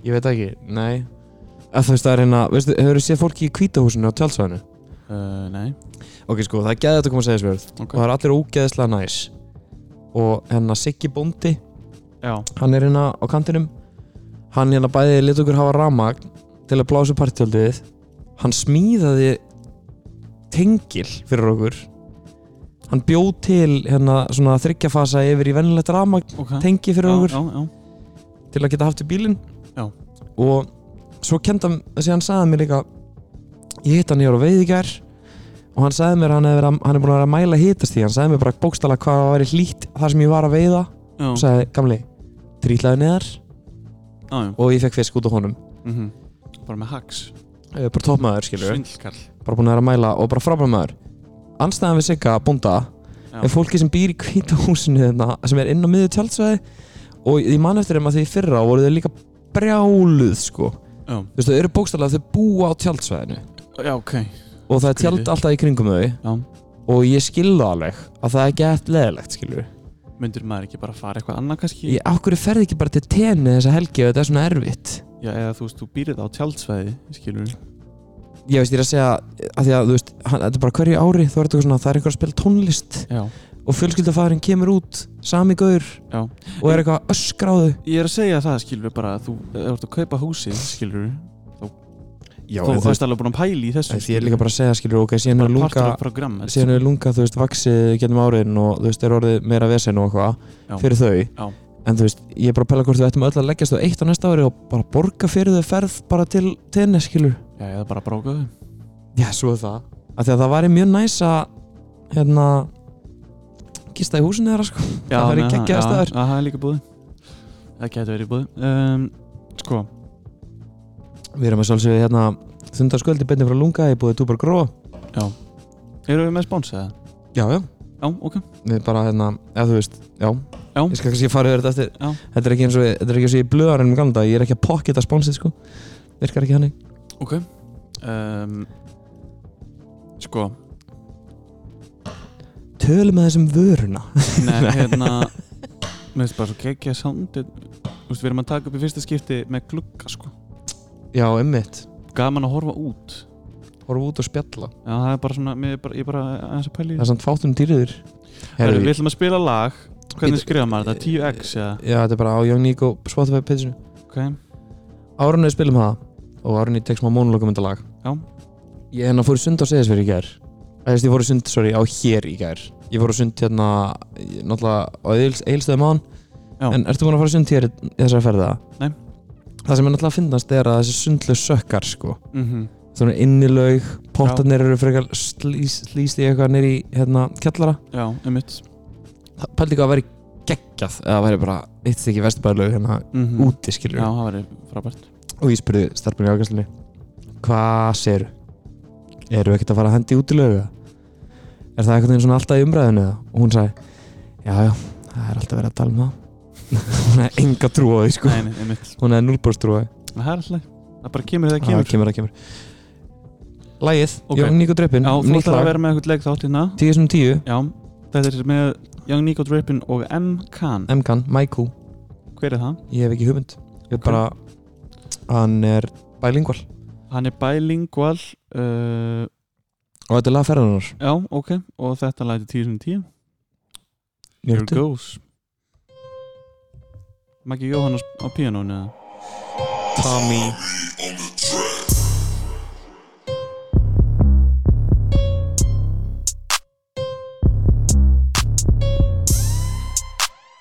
[SPEAKER 2] Ég veit ekki, nei að þú veist það er hérna, veistu, hefur séð fólki í kvítahúsinu á tjálsvæðinu?
[SPEAKER 1] Uh, nei,
[SPEAKER 2] Ok, sko, það er geðið að koma að segja þessu verð
[SPEAKER 1] ok
[SPEAKER 2] og það er allir ógeðislega næs og hérna Siggi Bóndi
[SPEAKER 1] Já,
[SPEAKER 2] hann er hérna á kantinum hann hérna bæði lit okkur hafa ramagn til að blása partjöldið hann smíðaði tengil fyrir okkur hann bjóð til hérna svona þryggjafasa yfir í venilegt ramagn
[SPEAKER 1] ok
[SPEAKER 2] tengi fyrir okkur
[SPEAKER 1] Já, já,
[SPEAKER 2] til að geta haft í bílinn
[SPEAKER 1] Já.
[SPEAKER 2] og svo kenda þessi hann sagði mér líka ég hitt hann hér á veiðigjær og hann sagði mér að hann, hefði verið að, hann er búin að vera að mæla hitast því hann sagði mér bara bókstala hvað það væri hlýtt þar sem ég var að veiða
[SPEAKER 1] já,
[SPEAKER 2] og
[SPEAKER 1] já,
[SPEAKER 2] sagði gamli trýtlaði neðar
[SPEAKER 1] já.
[SPEAKER 2] og ég fekk fisk út á honum
[SPEAKER 1] mhm. Bara með hacks
[SPEAKER 2] Eh, bara toppmaður skilur
[SPEAKER 1] Svindlkarl
[SPEAKER 2] bara búin að vera að mæla og bara frábæmaður anstæðan við sigga bónda
[SPEAKER 1] Já.
[SPEAKER 2] er fólki sem býr í kvítahúsinu þarna, sem er inn á miðju tjaldsvæði og ég man eftir þeim að því í fyrra voru þau líka brjáluð sko
[SPEAKER 1] Já,
[SPEAKER 2] þú veist, þau eru bókstallega þau búa á tjaldsvæðinu
[SPEAKER 1] já ok
[SPEAKER 2] og það er tjald
[SPEAKER 1] Skrítið.
[SPEAKER 2] alltaf í kringum þau
[SPEAKER 1] Já.
[SPEAKER 2] og ég skilða alveg að það er ekki eftir leðilegt skilur
[SPEAKER 1] Myndur maður ekki bara fara eitthvað annað kannski?
[SPEAKER 2] ég okkur ferði ekki bara til tenni þessa helgi ef þetta er svona erfitt
[SPEAKER 1] Já, eða þú veist, þú býrið á tjaldsvæði, skilur við.
[SPEAKER 2] ég veist, ég er að segja að því að þú veist, hann, þetta er bara hverju ári þú verður eitthvað svona, það er eitthvað að spila tónlist
[SPEAKER 1] Já.
[SPEAKER 2] og fjölskyldafæðurinn kemur út sami gaur
[SPEAKER 1] Já.
[SPEAKER 2] og er eitthvað að öskra á þau
[SPEAKER 1] Ég er að segja það, skilur við, bara að þú ef þú ert að kaupa húsi, skilur við.
[SPEAKER 2] já,
[SPEAKER 1] Þú
[SPEAKER 2] þú
[SPEAKER 1] veist alveg búin að pæli í þessu.
[SPEAKER 2] því ég er líka bara að segja skilur, ok, síðan er lunga
[SPEAKER 1] partur af program.
[SPEAKER 2] síðan er lunga, þú veist, vaksið getum áriðin og þú veist, er orðið meira vesen og
[SPEAKER 1] Já.
[SPEAKER 2] eitthvað fyrir þau
[SPEAKER 1] Já.
[SPEAKER 2] en þú veist, ég er bara að pæla hvort við ættum öll að leggjast á eitt á næsta ári og bara borga fyrir þau ferð bara til tennis, skilur
[SPEAKER 1] Já, eða bara brókaðu.
[SPEAKER 2] já, svo er það af því að það væri mjög næs að hérna gista í húsinu þeirra, sko
[SPEAKER 1] Já,
[SPEAKER 2] það væri
[SPEAKER 1] með
[SPEAKER 2] geggjaða
[SPEAKER 1] já,
[SPEAKER 2] staður
[SPEAKER 1] Já, það er líka búið. Það getur verið búið. Um, sko,
[SPEAKER 2] við erum að sjálfsögðu hérna þundarsköldi beinni frá lunga, ég búið túpar gró
[SPEAKER 1] eru við með spons eða?
[SPEAKER 2] já, já,
[SPEAKER 1] Já, ok.
[SPEAKER 2] við bara hérna, eða þú veist, já
[SPEAKER 1] Já.
[SPEAKER 2] ég skal kannski fara yfir þetta eftir
[SPEAKER 1] Já.
[SPEAKER 2] þetta er ekki eins og ég- þetta er ekki eins og ég blöðar ennum gamla dag, ég er ekki að pocketa sponsið, sko virkar ekki hannig
[SPEAKER 1] Ok. Um, sko,
[SPEAKER 2] tölum með þessum vöruna
[SPEAKER 1] Nei, hérna Mér finnst bara svo geggja soundið Þú veist, við erum að taka upp í fyrsta skipti með glugga sko.
[SPEAKER 2] já, emmitt,
[SPEAKER 1] Gaman að horfa út
[SPEAKER 2] horfa út og spjalla
[SPEAKER 1] Já, það er bara svona, mér er bara, ég er bara aðeins að pæli
[SPEAKER 2] það er samt um fátum dýriður
[SPEAKER 1] Herru, við Eh, ætlum að spila lag Hvernig
[SPEAKER 2] Bíddu,
[SPEAKER 1] skrifa maður þetta? 10x eða?
[SPEAKER 2] Já, þetta er bara á Young Nico Spotify pitchinu
[SPEAKER 1] Ok,
[SPEAKER 2] Árunni við spilum það og Árunni tek smá monologum þetta lag
[SPEAKER 1] Já.
[SPEAKER 2] Ég hérna fór í sund á Seyðisverð í gær Eða þess, ég fór í sund, sorry, á hér í gær Ég fór í sund hérna, ég- náttúrulega á eilstöðum án
[SPEAKER 1] Já.
[SPEAKER 2] En ertu búin að fara í sund hér í í þessari ferða?
[SPEAKER 1] Nei.
[SPEAKER 2] Það sem er náttúrulega að finnast er að þessi sundlu sökkar, sko
[SPEAKER 1] mhm,
[SPEAKER 2] Svona innilaug, pottarnir eru frekar slýst, slýst í eitthvað nýri, hérna, kjallara
[SPEAKER 1] já, einmitt
[SPEAKER 2] Það pældi ekki að væri geggjað eða væri bara eitt stykki vesturbæðlaug hérna
[SPEAKER 1] mm
[SPEAKER 2] úti, skilur
[SPEAKER 1] Já, það væri frábært
[SPEAKER 2] og ég spurði starfminni ákvæmslinni hvað séru? eru ekkert að fara að hendi út í lauga? er það einhvern veginn svona alltaf í umræðinu eða? og hún sagði, já já, það er alltaf verið að tala um það hún er enga trú á því sko
[SPEAKER 1] Nei, nei, einmitt.
[SPEAKER 2] hún er núlbúrst trú á því
[SPEAKER 1] En Það er alltaf Það bara kemur þegar
[SPEAKER 2] Ah,
[SPEAKER 1] það kemur
[SPEAKER 2] kemur, það kemur Lægið,
[SPEAKER 1] Ok.
[SPEAKER 2] Young Nico Drippin
[SPEAKER 1] Já, þú
[SPEAKER 2] nýtt
[SPEAKER 1] ætlar að
[SPEAKER 2] lag,
[SPEAKER 1] vera með eitthvað leik þátt hérna
[SPEAKER 2] 10 sem 10
[SPEAKER 1] Já, þetta er með Young Nico Drippin og M. Khan
[SPEAKER 2] MKan, Maiku,
[SPEAKER 1] Hver er það?
[SPEAKER 2] ég hef ekki hugmynd
[SPEAKER 1] Ok.
[SPEAKER 2] ég er bara, hann er bælingval
[SPEAKER 1] Hann er bilingual uh,
[SPEAKER 2] og þetta er lag ferðanar
[SPEAKER 1] Já, ok Og þetta læti 10 sem 10 Here
[SPEAKER 2] Njóttu.
[SPEAKER 1] goes Maggi Jóhannes á píanónu eða?
[SPEAKER 2] Tommy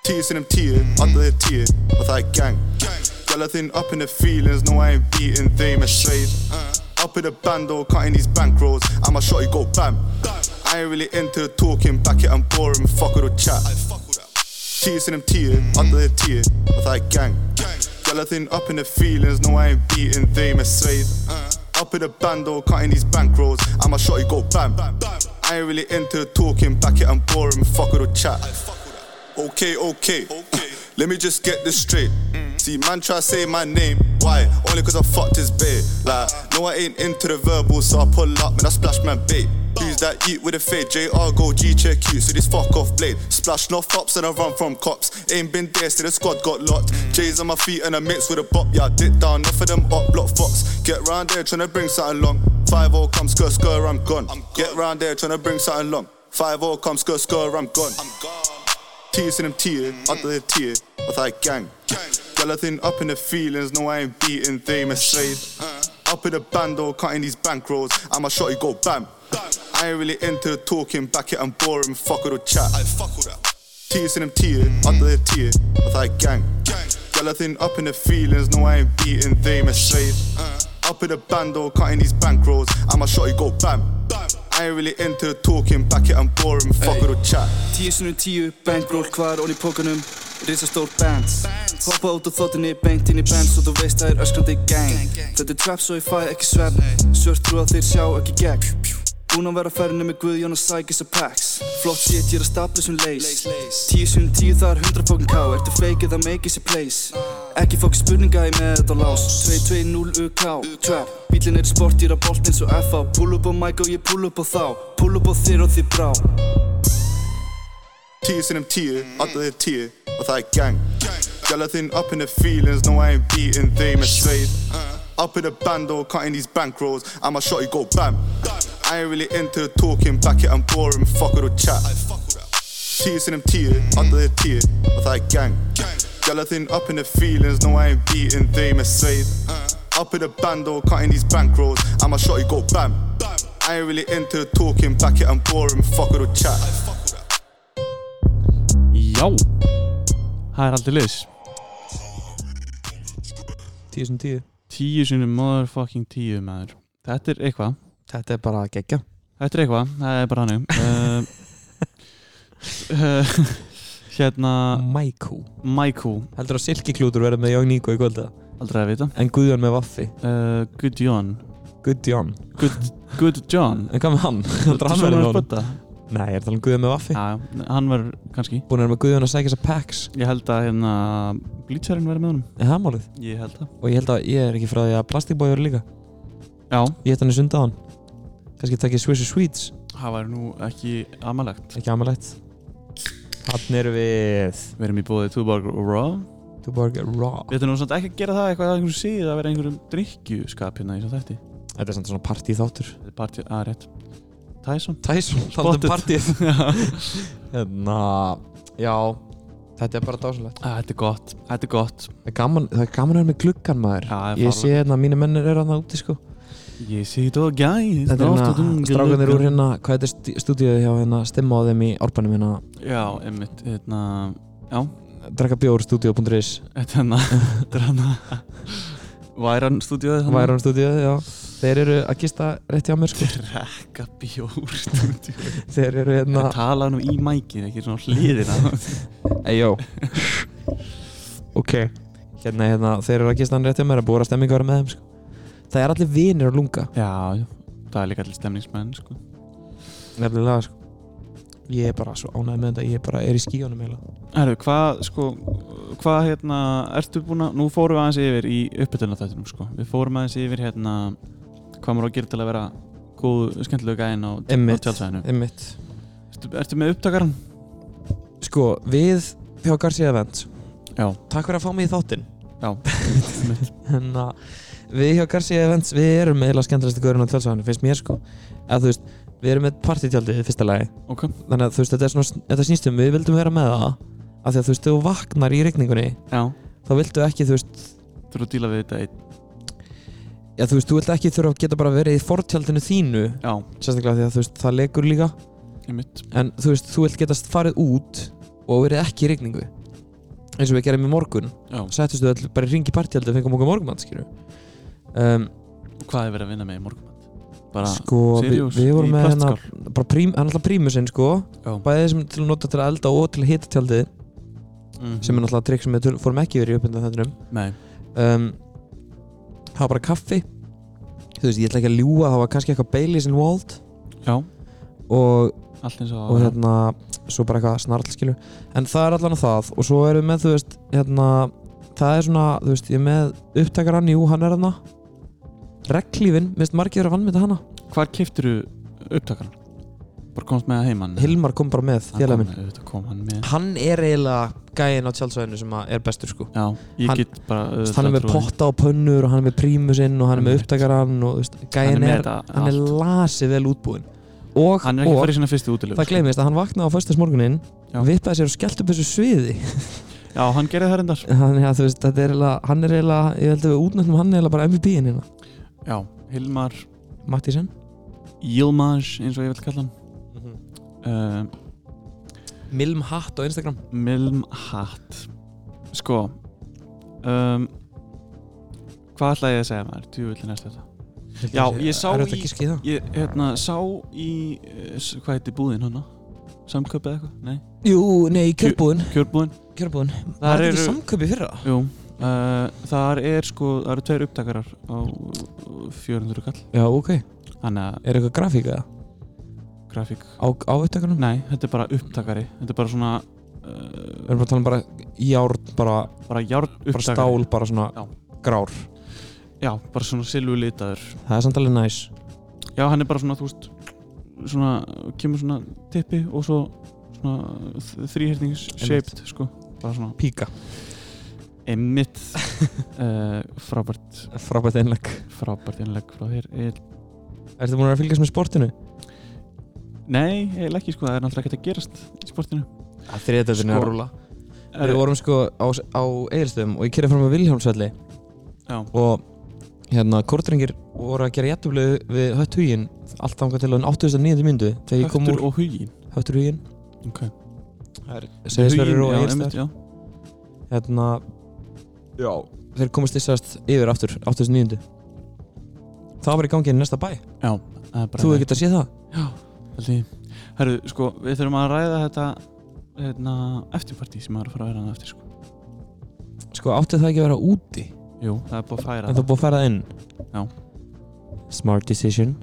[SPEAKER 5] Tíu sinnum tíu, alltaf er tíu og það er gang Gæla þinn up in the feelings, no I ain't beating them straight Up in the bando, cutting these bankrolls, I'm a shotty go bam I ain't really into the talking, back it, I'm boring, fuck all the chat Tíu sinnum tíu, alltaf er tíu og það er gang Gæla þinn up in the feelings, no I ain't beating them straight Up in the bando, cutting these bankrolls, I'm a shotty go bam I ain't really into the talking, back it, I'm boring, fuck all the chat Okay, okay. okay. Let me just get this straight. See, man try say my name. Why? Only cause I fucked his babe. Like, no, I ain't into the verbal, so I pull up and I splash my bait. Use that eat with a fade. JR go G check you, so this fuck off blade. Splash no flops and I run from cops. Ain't been there, still the squad got locked. J's on my feet and I mix with a bop. Yeah, dick down, enough of them up, block fox. Get round there, tryna bring something long. 5 0 come, skr, skr, I'm gone. Get round there, tryna bring something long. 5 0 come, skr, skr, I'm gone. Tears in them tears, under the tear of that gang. Girl, I think up in the feelings, no, I ain't beating them straight. Up in the bando, cutting these bankrolls, I'm a shotty go bam. I ain't really into the talking, back it, I'm boring, fuck all the chat. Tears in them tears, under the tear of that gang. Girl, I think up in the feelings, no, I ain't beating them straight. Up in the bando, cutting these bankrolls, I'm a shotty go bam. I ain't really into the talking, back it, I'm boring, fuck all the chat.
[SPEAKER 6] Tíu sinnum tíu, bankról hvar onni í pókanum Risastór bands Hoppa út á þóttinni, beint inn í bands Og þú veist það er öskrandi gang Þetta er trap svo ég fæ ekki svefn Svört trú að þeir sjá ekki gegn Búin að vera á ferðinni með Guðjón og Sækis og Pax Flott shit, ég er að stapla sem leys Tíu sinnum tíu, það er hundra pókan ká Ertu fake eða make is a place Ekki fók spurninga ég með þetta á lás 2-2-0 UK, trap Bílinn er í sport, ég er að bolt eins og FA Pull up á Mike og ég pull up á þá Pull up á þér og þið brá
[SPEAKER 5] Tears in them tears, under the tear of that gang. Girl, I think up in the feelings, no, I ain't beating them straight. Up in the bando, cutting these bankrolls, I'm a shotty go bam. I ain't really into the talking, back it, I'm boring, fuck all the chat. Tears in them tears, under the tear of that gang. Girl, I think up in the feelings, no, I ain't beating them straight. Up in the bando, cutting these bankrolls, I'm a shotty go bam. I ain't really into the talking, back it, I'm boring, fuck all the chat.
[SPEAKER 1] Já Það er aldrei liðs
[SPEAKER 2] 10 sem 10
[SPEAKER 1] Tíu sinni motherfucking tíu maður Þetta er eitthvað
[SPEAKER 2] Þetta er bara að gegja
[SPEAKER 1] Þetta er eitthvað, það er bara Eh, hann uh, Hérna
[SPEAKER 2] Maiku
[SPEAKER 1] Maiku,
[SPEAKER 2] Heldur að silkiklútur verður með Young Nico í kvölda
[SPEAKER 1] aldrei að vita
[SPEAKER 2] En Guðjón með Vaffi
[SPEAKER 1] uh, Good John
[SPEAKER 2] Guðjón
[SPEAKER 1] Good, good John
[SPEAKER 2] En hvað með hann? Heldur að hann
[SPEAKER 1] Svona
[SPEAKER 2] verður með
[SPEAKER 1] að
[SPEAKER 2] honum?
[SPEAKER 1] spötta
[SPEAKER 2] Nei, ég er talað um Guðjón með Vaffi
[SPEAKER 1] Já, hann var kannski
[SPEAKER 2] Búin að vera með Guðjón að sækja þess að Pax
[SPEAKER 1] Ég held að hérna Bleacherinn verði með honum
[SPEAKER 2] Er það málið?
[SPEAKER 1] Ég held að
[SPEAKER 2] Og ég held að ég er ekki frá því að Plastikbói eru líka
[SPEAKER 1] Já,
[SPEAKER 2] Ég hætti hann í sundaðan Kannski tekið Swiss and Sweets
[SPEAKER 1] það var nú ekki amalegt
[SPEAKER 2] Ekki amalegt Hann eru við
[SPEAKER 1] Við erum í bóðið Tuborg Raw
[SPEAKER 2] Tuborg Raw
[SPEAKER 1] Við ætlum nú samt ekki að gera það eitthvað að einhverjum síð að vera einhverjum drikkjuskap hérna í þess að þetta
[SPEAKER 2] Þetta er samt svona partí þáttur
[SPEAKER 1] Þetta er partí að rétt Tyson
[SPEAKER 2] Tyson
[SPEAKER 1] Spotted.
[SPEAKER 2] Talandi partíð
[SPEAKER 1] Já.
[SPEAKER 2] Hérna Já Þetta er bara dásalegt
[SPEAKER 1] Æ, Ah, Þetta er gott, þetta er gott
[SPEAKER 2] Það er gaman, það er gaman að vera með gluggan maður
[SPEAKER 1] Já, það er
[SPEAKER 2] Ég
[SPEAKER 1] fáránlegt.
[SPEAKER 2] sé hérna að mínu mennir eru hann úti sko
[SPEAKER 1] Ég sé þetta og gæði
[SPEAKER 2] Þetta er hérna strákanir úr hérna Hvað þetta er stí- stúdíóið hjá hérna Stimma á þeim í orbanum hérna
[SPEAKER 1] Já, einmitt, hérna
[SPEAKER 2] Drakkabjórstudio.is
[SPEAKER 1] Þetta er hérna Þetta er hérna Væran stúdíóið þarna.
[SPEAKER 2] Værum stúdíóið, já Þeir eru að gista rétt hjá mér sko
[SPEAKER 1] Drekka bjór stúdíóið
[SPEAKER 2] Þeir eru hérna
[SPEAKER 1] Það tala nú í mækin, ekki svona á hliðina
[SPEAKER 2] Eyjó Ok Hérna, hérna, þeir eru að gista hann rétt hjá mér að búra stemmingu að vera með þeim sko Það er allir vinir að lunga
[SPEAKER 1] Já, já Það er líka allir stemningsmenn, sko
[SPEAKER 2] Nefnilega sko ég er bara svo ánægð með þetta ég bara er í skíunum eiginlega
[SPEAKER 1] Herru, hvað, sko, hvað, hérna, ertu búin að, nú fórum við aðeins yfir í uppbytuna þættinum, sko. Við fórum aðeins yfir, hérna, hvað maður á að gera til að vera góð, skemmtilega gæðin á, á
[SPEAKER 2] Einmitt.
[SPEAKER 1] tjálsæðinu.
[SPEAKER 2] einmitt
[SPEAKER 1] Ertu, ertu með upptakaran?
[SPEAKER 2] sko við hjá Garcia Event
[SPEAKER 1] Já.
[SPEAKER 2] takk fyrir að fá mig í þáttinn
[SPEAKER 1] Já.
[SPEAKER 2] en að Hérna, við hjá Garcia Events við erum með eila skemmtilegstu gaurinn á tjálsvæðinu finnst mér sko að þú veist við erum með partítjaldið í fyrsta lagi
[SPEAKER 1] Ok.
[SPEAKER 2] þannig að þú veist þetta er svona þetta snýstum við vildum vera með það af því að þú veist þú vaknar í regningunni
[SPEAKER 1] Já.
[SPEAKER 2] þá viltu ekki þú veist
[SPEAKER 1] Þú eru að díla við þetta einn.
[SPEAKER 2] já þú veist þú vilt ekki þurfa að geta bara verið í fortjaldinu þínu
[SPEAKER 1] Já,
[SPEAKER 2] sérstaklega af því að þú veist það legur líka
[SPEAKER 1] ég mitt.
[SPEAKER 2] en þú veist þú vilt getast farið út og verið ekki í regningu eins og við gerum í morgun
[SPEAKER 1] Já.
[SPEAKER 2] settustu öll bara í ringi partjaldi og fengum okkur morgumann skilur um,
[SPEAKER 1] Hvað er verið að vinna með í morgumat? Bara,
[SPEAKER 2] sko við,
[SPEAKER 1] Sirius
[SPEAKER 2] við vorum
[SPEAKER 1] í
[SPEAKER 2] með hérna
[SPEAKER 1] plastskál.
[SPEAKER 2] bara prím, hann er alltaf prímusinn sko
[SPEAKER 1] Já.
[SPEAKER 2] bæðið sem til að nota til að elda og til að hita tjaldið
[SPEAKER 1] Mhm.
[SPEAKER 2] sem er náttúrulega trikk sem við töl- fórum ekki verið í uppbyndan þennum
[SPEAKER 1] Nei,
[SPEAKER 2] um, það var bara kaffi þú veist, ég ætla ekki að ljúga það var kannski eitthvað Baileys and Wald
[SPEAKER 1] já,
[SPEAKER 2] og,
[SPEAKER 1] allt eins og
[SPEAKER 2] og hérna, svo bara eitthvað snarl skilur en það er allan að það og svo erum við með, þú veist, hérna það er svona, þú veist, ég er með upptakarann jú, hann er hérna reglífin, minnst margir eru að vannmynda hana
[SPEAKER 1] Hvar keftir þú upptakaran? Bara komst með það heimann?
[SPEAKER 2] Hilmar kom bara með, félag minn
[SPEAKER 1] Þetta kom hann með
[SPEAKER 2] hann er eiginlega gæinn á tjálsvæðinu sem að er bestur sko
[SPEAKER 1] Já, ég
[SPEAKER 2] Hann-
[SPEAKER 1] get bara auðvitað
[SPEAKER 2] hann er með
[SPEAKER 1] trúað því.
[SPEAKER 2] potta og pönnur og hann er með prímusinn og hann er með
[SPEAKER 1] Einmitt.
[SPEAKER 2] upptakarann og þú veist,
[SPEAKER 1] Hann
[SPEAKER 2] gæinn
[SPEAKER 1] er með
[SPEAKER 2] er,
[SPEAKER 1] þetta
[SPEAKER 2] hann er
[SPEAKER 1] allt.
[SPEAKER 2] lasið vel útbúinn og,
[SPEAKER 1] Hann er ekki
[SPEAKER 2] og
[SPEAKER 1] farið í sinna fyrstu útilegu
[SPEAKER 2] það gleymist að hann vaknaði á föstasmorgunin
[SPEAKER 1] Já.
[SPEAKER 2] vippaði sér og skellt upp þessu sviði
[SPEAKER 1] Já, hann gerði það reyndar
[SPEAKER 2] þannig að þú veist, þetta er eiginlega hann er eiginlega, ég held að við útnöfnum hann eiginlega bara MVP-in hérna,
[SPEAKER 1] Já, Hilmar
[SPEAKER 2] Mattísen
[SPEAKER 1] Yilmaz, eins og ég vil kalla hann
[SPEAKER 2] Mhm.
[SPEAKER 1] uh,
[SPEAKER 2] Milm Hatt á Instagram
[SPEAKER 1] Milmhat Sko um, Hvað ætla ég að segja maður? Tjúvillin er þetta Já, ég sá
[SPEAKER 2] er
[SPEAKER 1] í-
[SPEAKER 2] þetta ekki skýða?
[SPEAKER 1] Ég, hérna, sá í eh, s- Hvað heiti búðin hann? Samköpið eitthvað? Nei,
[SPEAKER 2] Jú, nei, kjörbúinn
[SPEAKER 1] kjörbúðin
[SPEAKER 2] kjörbúinn, það
[SPEAKER 1] Þar
[SPEAKER 2] er ekki
[SPEAKER 1] eru-
[SPEAKER 2] samköpi fyrra
[SPEAKER 1] Jú Uh, þar er sko, það eru tveir upptakarar á eh, 400 kall
[SPEAKER 2] Já, ok,
[SPEAKER 1] Þannig að
[SPEAKER 2] er eitthvað grafík eða?
[SPEAKER 1] grafík
[SPEAKER 2] Á, á upptakanum?
[SPEAKER 1] Nei, þetta er bara upptakari Þetta er bara svona uh,
[SPEAKER 2] Við erum bara að tala um bara járn, bara
[SPEAKER 1] bara járn
[SPEAKER 2] bara
[SPEAKER 1] upptakari
[SPEAKER 2] stál, bara svona
[SPEAKER 1] Já.
[SPEAKER 2] grár
[SPEAKER 1] Já, bara svona silvulitaður
[SPEAKER 2] það er samt alveg næs
[SPEAKER 1] Já, hann er bara svona, þú veist svona, kemur svona tippi og svo svona þrýhyrnings shaped, sko bara svona
[SPEAKER 2] píka,
[SPEAKER 1] einmitt uh, frábært,
[SPEAKER 2] frábært einleg
[SPEAKER 1] frábært innlegg frá þér Egill.
[SPEAKER 2] Ertu búin að vera að fylgjast með sportinu?
[SPEAKER 1] Nei, eiginlega ekki, sko, það er náttúrulega ekki að gerast í sportinu
[SPEAKER 2] Þriðdöðin
[SPEAKER 1] Sko, er að
[SPEAKER 2] rúla Við vorum sko á, á Egilstöðum og ég kerði fram á Vilhjálmsvelli
[SPEAKER 1] Eh, Já.
[SPEAKER 2] og hérna kortringir voru að gera jættuflu við hött hugin allt þangað til á 89. myndu þegar ég kom
[SPEAKER 1] Höttur
[SPEAKER 2] úr
[SPEAKER 1] og hugin
[SPEAKER 2] höttur hugin
[SPEAKER 1] Ok.
[SPEAKER 2] Seðisverður og
[SPEAKER 1] já,
[SPEAKER 2] Egilstöð
[SPEAKER 1] einmitt, já
[SPEAKER 2] hérna Já. þeir komast þessast yfir aftur 89. það var í gangi í næsta bæ
[SPEAKER 1] Já, það er bara
[SPEAKER 2] þú hefur getað séð það
[SPEAKER 1] Haldi. Herru, sko, við þurfum að ræða þetta hérna, eftirparti sem maður er að fara að vera hann eftir sko.
[SPEAKER 2] sko átti það ekki að vera úti
[SPEAKER 1] Jú, það er búið að færa
[SPEAKER 2] en þú er
[SPEAKER 1] það
[SPEAKER 2] búið að færa það inn
[SPEAKER 1] Já.
[SPEAKER 2] smart decision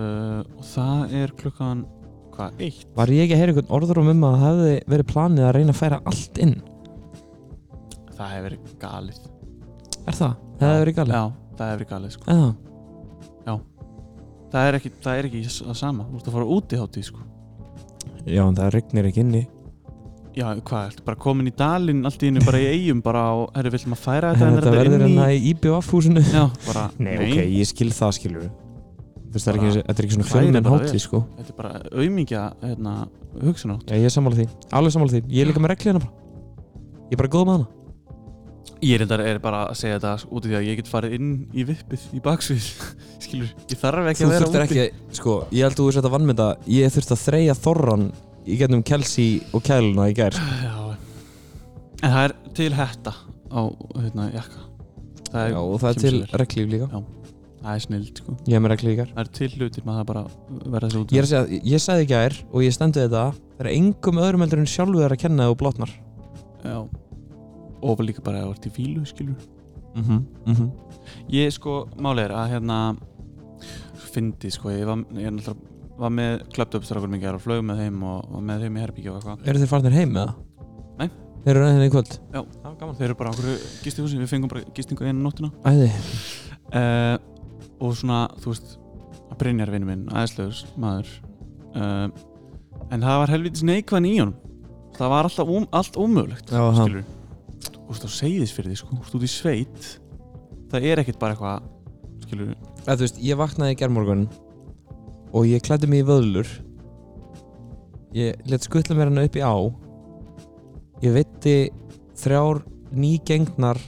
[SPEAKER 1] uh, og það er klukkan hvað, eitt?
[SPEAKER 2] var ég ekki að heyra einhvern orður um að það hefði verið planið að reyna að færa allt inn
[SPEAKER 1] Það hefur verið galið
[SPEAKER 2] er það? það hefði verið galið
[SPEAKER 1] Já, það hefur verið galið sko.
[SPEAKER 2] Já.
[SPEAKER 1] það, er ekki, það er ekki það sama, þú ert að fara út í hátíð sko.
[SPEAKER 2] já en það regnir ekki inni
[SPEAKER 1] Já, hvað, ertu bara komin í dalinn allt í einu bara í eigum bara á, herru, villum að færa þetta
[SPEAKER 2] en
[SPEAKER 1] en er
[SPEAKER 2] þetta verður
[SPEAKER 1] inn
[SPEAKER 2] hérna
[SPEAKER 1] í
[SPEAKER 2] í IBF húsinu
[SPEAKER 1] Já, bara,
[SPEAKER 2] ég skil það skilur þú veist það er
[SPEAKER 1] Bara-
[SPEAKER 2] ekki, þetta er ekki svona
[SPEAKER 1] Hræðir
[SPEAKER 2] fjölmenn
[SPEAKER 1] bara við.
[SPEAKER 2] hátíð sko
[SPEAKER 1] þetta er bara auðmingja hérna, hugsunátt
[SPEAKER 2] já ég er sammála því alveg sammála því ég er líka með reglina bara ég er bara góð með hana
[SPEAKER 1] Ég reyndar er bara að segja þetta út af því að ég get farið inn í vippið í baksvið Skilur, ég þarf ekki
[SPEAKER 2] þú
[SPEAKER 1] að vera
[SPEAKER 2] þurftir
[SPEAKER 1] úti
[SPEAKER 2] ekki sko ég held að þú veist þetta vannmynda ég þurfti að þreja þorran í getnum Kelsey og Kæluna í gær
[SPEAKER 1] Já En það er til hetta á hérna, jakka það er,
[SPEAKER 2] Já, og það er
[SPEAKER 1] kemur
[SPEAKER 2] til
[SPEAKER 1] sér vel.
[SPEAKER 2] reglíf líka
[SPEAKER 1] það er snild sko
[SPEAKER 2] Ég hef með reglíf í gær
[SPEAKER 1] Það er til hlutir maður það bara verða þessi út
[SPEAKER 2] Ég er að segja, ég sagði í gær og ég stendu þetta Það er engum öðrum heldur en sjálfu þær að kenna þú blotnar
[SPEAKER 1] Já Og bara líka bara að það vart í fílu skilur
[SPEAKER 2] mm -hmm, mm -hmm.
[SPEAKER 1] Ég sko, málið er að hérna Fyndi sko, ég var, ég er náttúrulega var með klöptöpstrákur mikið hér og flög með þeim og, og með þeim í herbyggju og eitthvað
[SPEAKER 2] Eru þeir farnir heim eða?
[SPEAKER 1] Nei.
[SPEAKER 2] Þeir eru reyðin í kvöld?
[SPEAKER 1] Já.
[SPEAKER 2] Það var gaman
[SPEAKER 1] Þeir eru bara okkur gistihúsi, við fengum bara gistingu einu nóttina
[SPEAKER 2] Æði
[SPEAKER 1] uh, og svona, þú veist að Brynjar vinnu minn, aðeinslegur maður uh, en það var helvitis neikvæðan í honum það var alltaf um, allt ómögulegt
[SPEAKER 2] Já, ha.
[SPEAKER 1] skilur þú veist, þá segðis fyrir því, sko, þú veist, út í sveit það er ekkert bara eitthvað skilur,
[SPEAKER 2] Eða, Þú veist, ég vaknaði í gerðmorgun og ég klæddi mig í vöðlur ég let skuttla mér hana upp í á ég veitti þrjár nýgengnar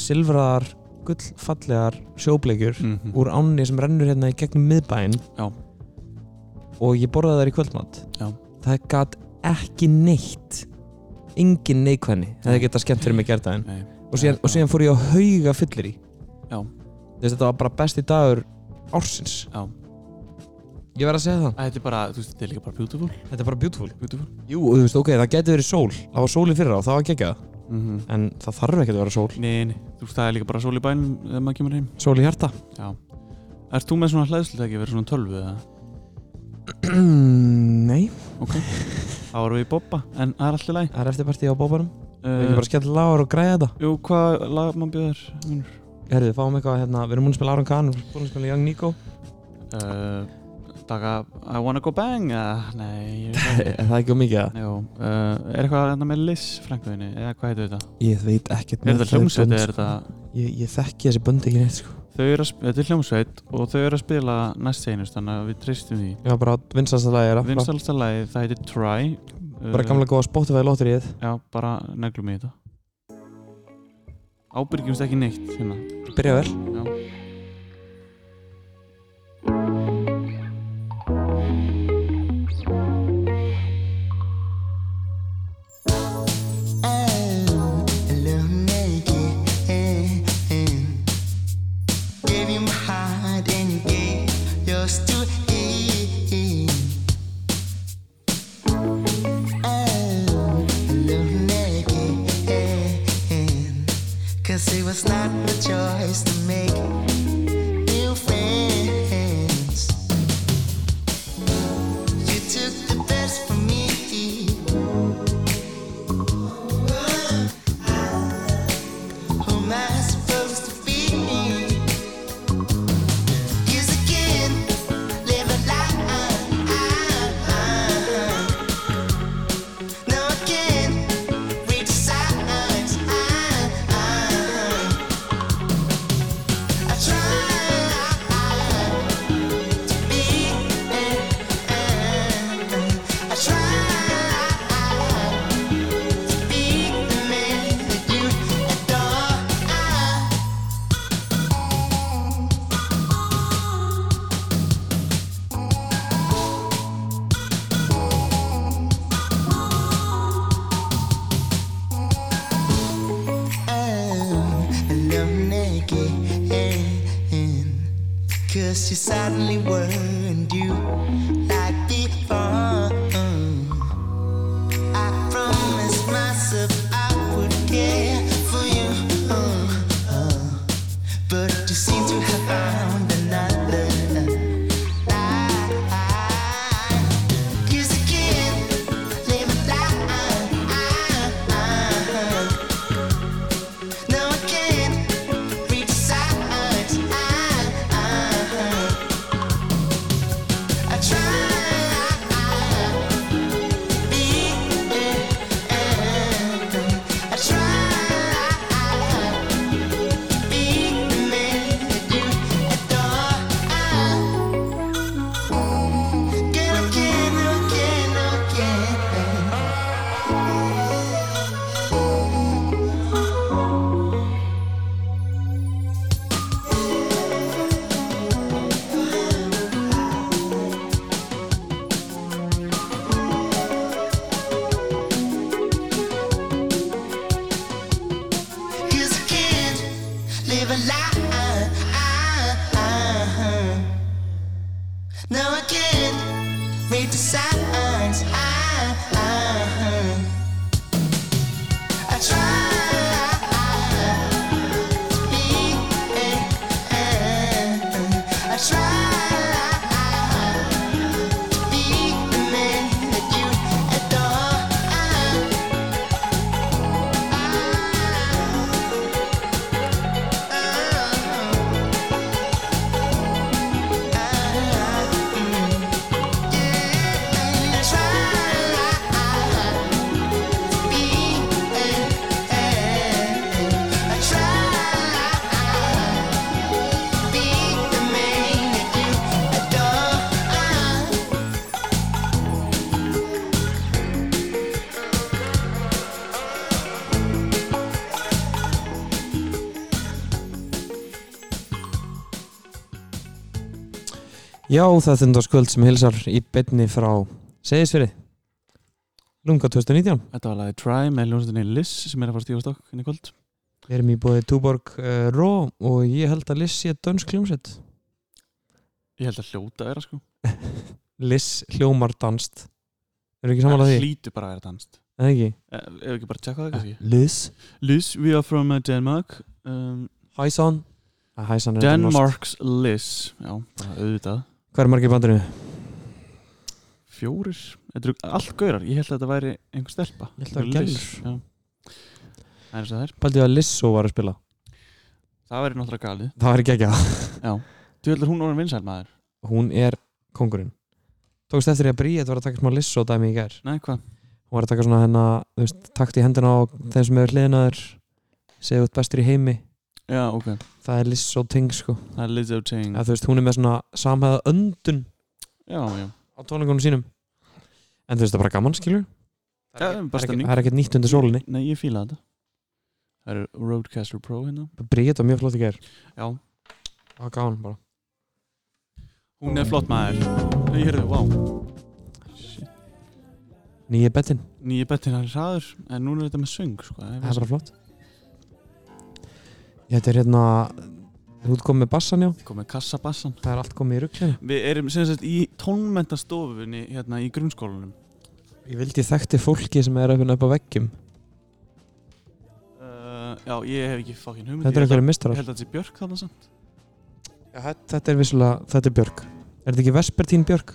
[SPEAKER 2] silfraðar gullfallegar sjóbleikjur
[SPEAKER 1] mm
[SPEAKER 2] úr ánni sem rennur hérna í gegnum miðbæinn
[SPEAKER 1] Já.
[SPEAKER 2] og ég borðaði þær í kvöldmatt
[SPEAKER 1] Já.
[SPEAKER 2] það gat ekki neitt engin neikvæðni það geta skemmt fyrir mig gerðaðin
[SPEAKER 1] Nei.
[SPEAKER 2] og, síðan- og síðan fór ég að hauga fyllir í
[SPEAKER 1] Já.
[SPEAKER 2] Þess, þetta var bara besti dagur ársins
[SPEAKER 1] Já.
[SPEAKER 2] ég verð að segja það,
[SPEAKER 1] Æ, þetta er bara, þú veist, þetta er líka bara beautiful
[SPEAKER 2] þetta er bara beautiful
[SPEAKER 1] beautiful
[SPEAKER 2] jú, og þú veist, ok, það geti verið sól það var sól í fyrra og það var geggjað
[SPEAKER 1] mm -hmm.
[SPEAKER 2] en það þarf ekki að vera sól
[SPEAKER 1] Nei, nei, þú veist, það er líka bara sól í bænum þegar maður kemur heim
[SPEAKER 2] sól í hjarta
[SPEAKER 1] Erst þú með svona hlæðslutæki verið svona tölvu eða?
[SPEAKER 2] nei,
[SPEAKER 1] Þá erum við í bobba, en það er alltaf læg
[SPEAKER 2] það er eftirparti á bóbarum uh,
[SPEAKER 1] uh,
[SPEAKER 2] við ekki bara skemmt lágur og græða þetta
[SPEAKER 1] Eh, Jú, hvað lag maður bjóðar?
[SPEAKER 2] Herðu, við fáum eitthvað hérna, við erum múin að spila Aron Kahn við erum búin að spila Young Nico
[SPEAKER 1] Uh, taka I wanna go bang uh, Nei, ég veit
[SPEAKER 2] Er
[SPEAKER 1] ekki.
[SPEAKER 2] það ekki of mikið að?
[SPEAKER 1] Jú, uh, er eitthvað hérna með Liz frænkuðinni? Eða hvað heitir þetta?
[SPEAKER 2] Ég veit ekkert
[SPEAKER 1] Er þetta hljómsveit eða
[SPEAKER 2] eða
[SPEAKER 1] er þetta
[SPEAKER 2] Ég, ég þekki þessi bönd ekki neitt sko
[SPEAKER 1] Þau eru að spila, þetta er hljómsveit og þau eru að spila næst seinust þannig að við treystum því
[SPEAKER 2] Já, bara vinsansta lagi er að
[SPEAKER 1] Vinstalsta lagi, það heitir Try uh,
[SPEAKER 2] Bara gamla góða Spotify lotteríið
[SPEAKER 1] Já, bara neglum í þetta Ábyrgjumst ekki neitt hérna
[SPEAKER 2] Byrja vel
[SPEAKER 7] Mm-hmm. Mm-hmm. mm-hmm. Cause it was not the choice to make new friends. You took the best from me. Who am I supposed to be? Use again, live a lie. No, I can't reach signs. I try to be. I try to be the man that you adore. alone again. Cause you suddenly weren't you like before. I promised myself I would care for you. Uh, But you seem to have found another. lie. 'Cause you can't live a lie. No, I can't reach sides. I try to be. I try to be the man that you adore. Again, again, again, again. Cause I can't live a lie. No, I can't read the signs. I try to be. I try to
[SPEAKER 2] Já, það er þundarskvöld sem hilsar í beinni frá Seyðisfyrir Lunga 2019
[SPEAKER 1] Þetta var lagið Try með ljónstunni Liss sem er að fara að stífa á stokk inn í kvöld
[SPEAKER 2] Við erum í bóði Túborg uh, Ró og ég held að Liss sé dönsk hljómsett
[SPEAKER 1] Ég held að hljóta vera sko
[SPEAKER 2] Liss hljómar danst Erum við ekki samanlega því?
[SPEAKER 1] hlýtu bara að vera danst
[SPEAKER 2] Eða ekki?
[SPEAKER 1] Eh, Ef ekki bara að tjekka það kannski
[SPEAKER 2] Liss
[SPEAKER 1] Liss, we are from uh, Denmark um,
[SPEAKER 2] Hæsan Ah, Hæsan er þetta norskt.
[SPEAKER 1] Denmark's Liss Já, bara auðvitað
[SPEAKER 2] Hvað er margir í bandinu?
[SPEAKER 1] Fjórir, þetta eru allt gaurar Ég held að þetta væri einhver stelpa
[SPEAKER 2] Ég held að það
[SPEAKER 1] Einhver
[SPEAKER 2] væri
[SPEAKER 1] Liss, já. Það er eins og það er
[SPEAKER 2] Paldið að Lissó var að spila
[SPEAKER 1] Það væri náttúrulega galið
[SPEAKER 2] Það var ekki ekki að
[SPEAKER 1] Þú heldur hún orðin vinsæl maður
[SPEAKER 2] Hún er kongurinn Tókst eftir því að Bríett var að taka smá Lissó dæmi í gær
[SPEAKER 1] Nei, hvað?
[SPEAKER 2] Hún var að taka svona hennar, þú veist, takt í hendina á þeim sem hefur hliðinaður Segðu út bestur í heimi
[SPEAKER 1] Já, ok
[SPEAKER 2] Það er Lissó ting sko
[SPEAKER 1] Það er Lizzo Ting
[SPEAKER 2] að þú veist, hún er með svona samhæða öndun
[SPEAKER 1] Já, já
[SPEAKER 2] á tónleikunum sínum en þú veist, það er bara gaman, skilur
[SPEAKER 1] Það er
[SPEAKER 2] það er
[SPEAKER 1] bara
[SPEAKER 2] ekkert-
[SPEAKER 1] stemning
[SPEAKER 2] það er ekkert nýtt undir sólinni
[SPEAKER 1] Nei, ég fíla þetta Það eru Roadcaster Pro hérna
[SPEAKER 2] Bríett var mjög flott í gær
[SPEAKER 1] Já
[SPEAKER 2] það var gaman bara
[SPEAKER 1] Hún er flott maður Nei, ég heyrðu, vá
[SPEAKER 2] nýja bettin,
[SPEAKER 1] Nýja bettin hann er hraður En núna er þetta með söng, sko
[SPEAKER 2] það er bara flott þetta er hérna þú ert komið með bassan, já
[SPEAKER 1] Komið kassabassan
[SPEAKER 2] það er allt komið í rugglinu
[SPEAKER 1] Við erum sem sagt í tónmentastofunni Hérna í grunnskólanum
[SPEAKER 2] ég vildi þekkti fólki sem er að finna upp á veggjum
[SPEAKER 1] uh, Já, ég hef ekki fokkin hugmynd
[SPEAKER 2] þetta
[SPEAKER 1] Ég
[SPEAKER 2] er
[SPEAKER 1] held
[SPEAKER 2] einhverju
[SPEAKER 1] að- Ég
[SPEAKER 2] mistarar
[SPEAKER 1] held að þetta sé Björk þarna samt
[SPEAKER 2] þetta er vissulega, þetta er Björk er þetta ekki Vespertín Björk?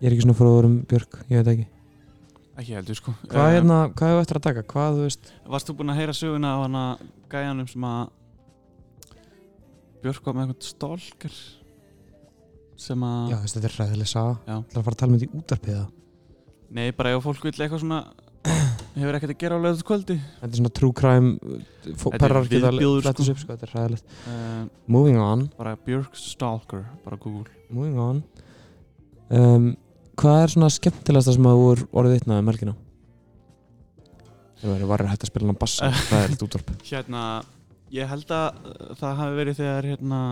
[SPEAKER 2] ég er ekki svona fróður um Björk, ég veit ekki
[SPEAKER 1] Ekki heldur, sko
[SPEAKER 2] hvað,
[SPEAKER 1] Eh,
[SPEAKER 2] hérna, hvað hefur eftir að taka, hvað, þú veist
[SPEAKER 1] Varst þú búinn að heyra söguna á hana gæjanum sem að Björk var með eitthvað stólker sem að
[SPEAKER 2] Já, þessi, þetta er ræðileg saga
[SPEAKER 1] Já.
[SPEAKER 2] Það er að fara að tala um þetta í útarpiða
[SPEAKER 1] Nei, bara ef fólk vill eitthvað svona hefur ekkert að gera á lögðu kvöldi
[SPEAKER 2] Þetta er svona true flett
[SPEAKER 1] Þetta
[SPEAKER 2] þessu
[SPEAKER 1] er
[SPEAKER 2] Perrar geta
[SPEAKER 1] viðbjóður,
[SPEAKER 2] flett
[SPEAKER 1] sko.
[SPEAKER 2] þessu upp sko, Þetta er ræðilegt
[SPEAKER 1] uh,
[SPEAKER 2] Moving on
[SPEAKER 1] bara Björk Stalker, bara Google
[SPEAKER 2] Moving on um, Hvað er svona skemmtilegasta sem að þú er orðið vitnaði um helgina? Það verður varður hægt að spila hann bassa Það er þetta útarp
[SPEAKER 1] Hérna, ég held að uh, það hafi verið þegar hérna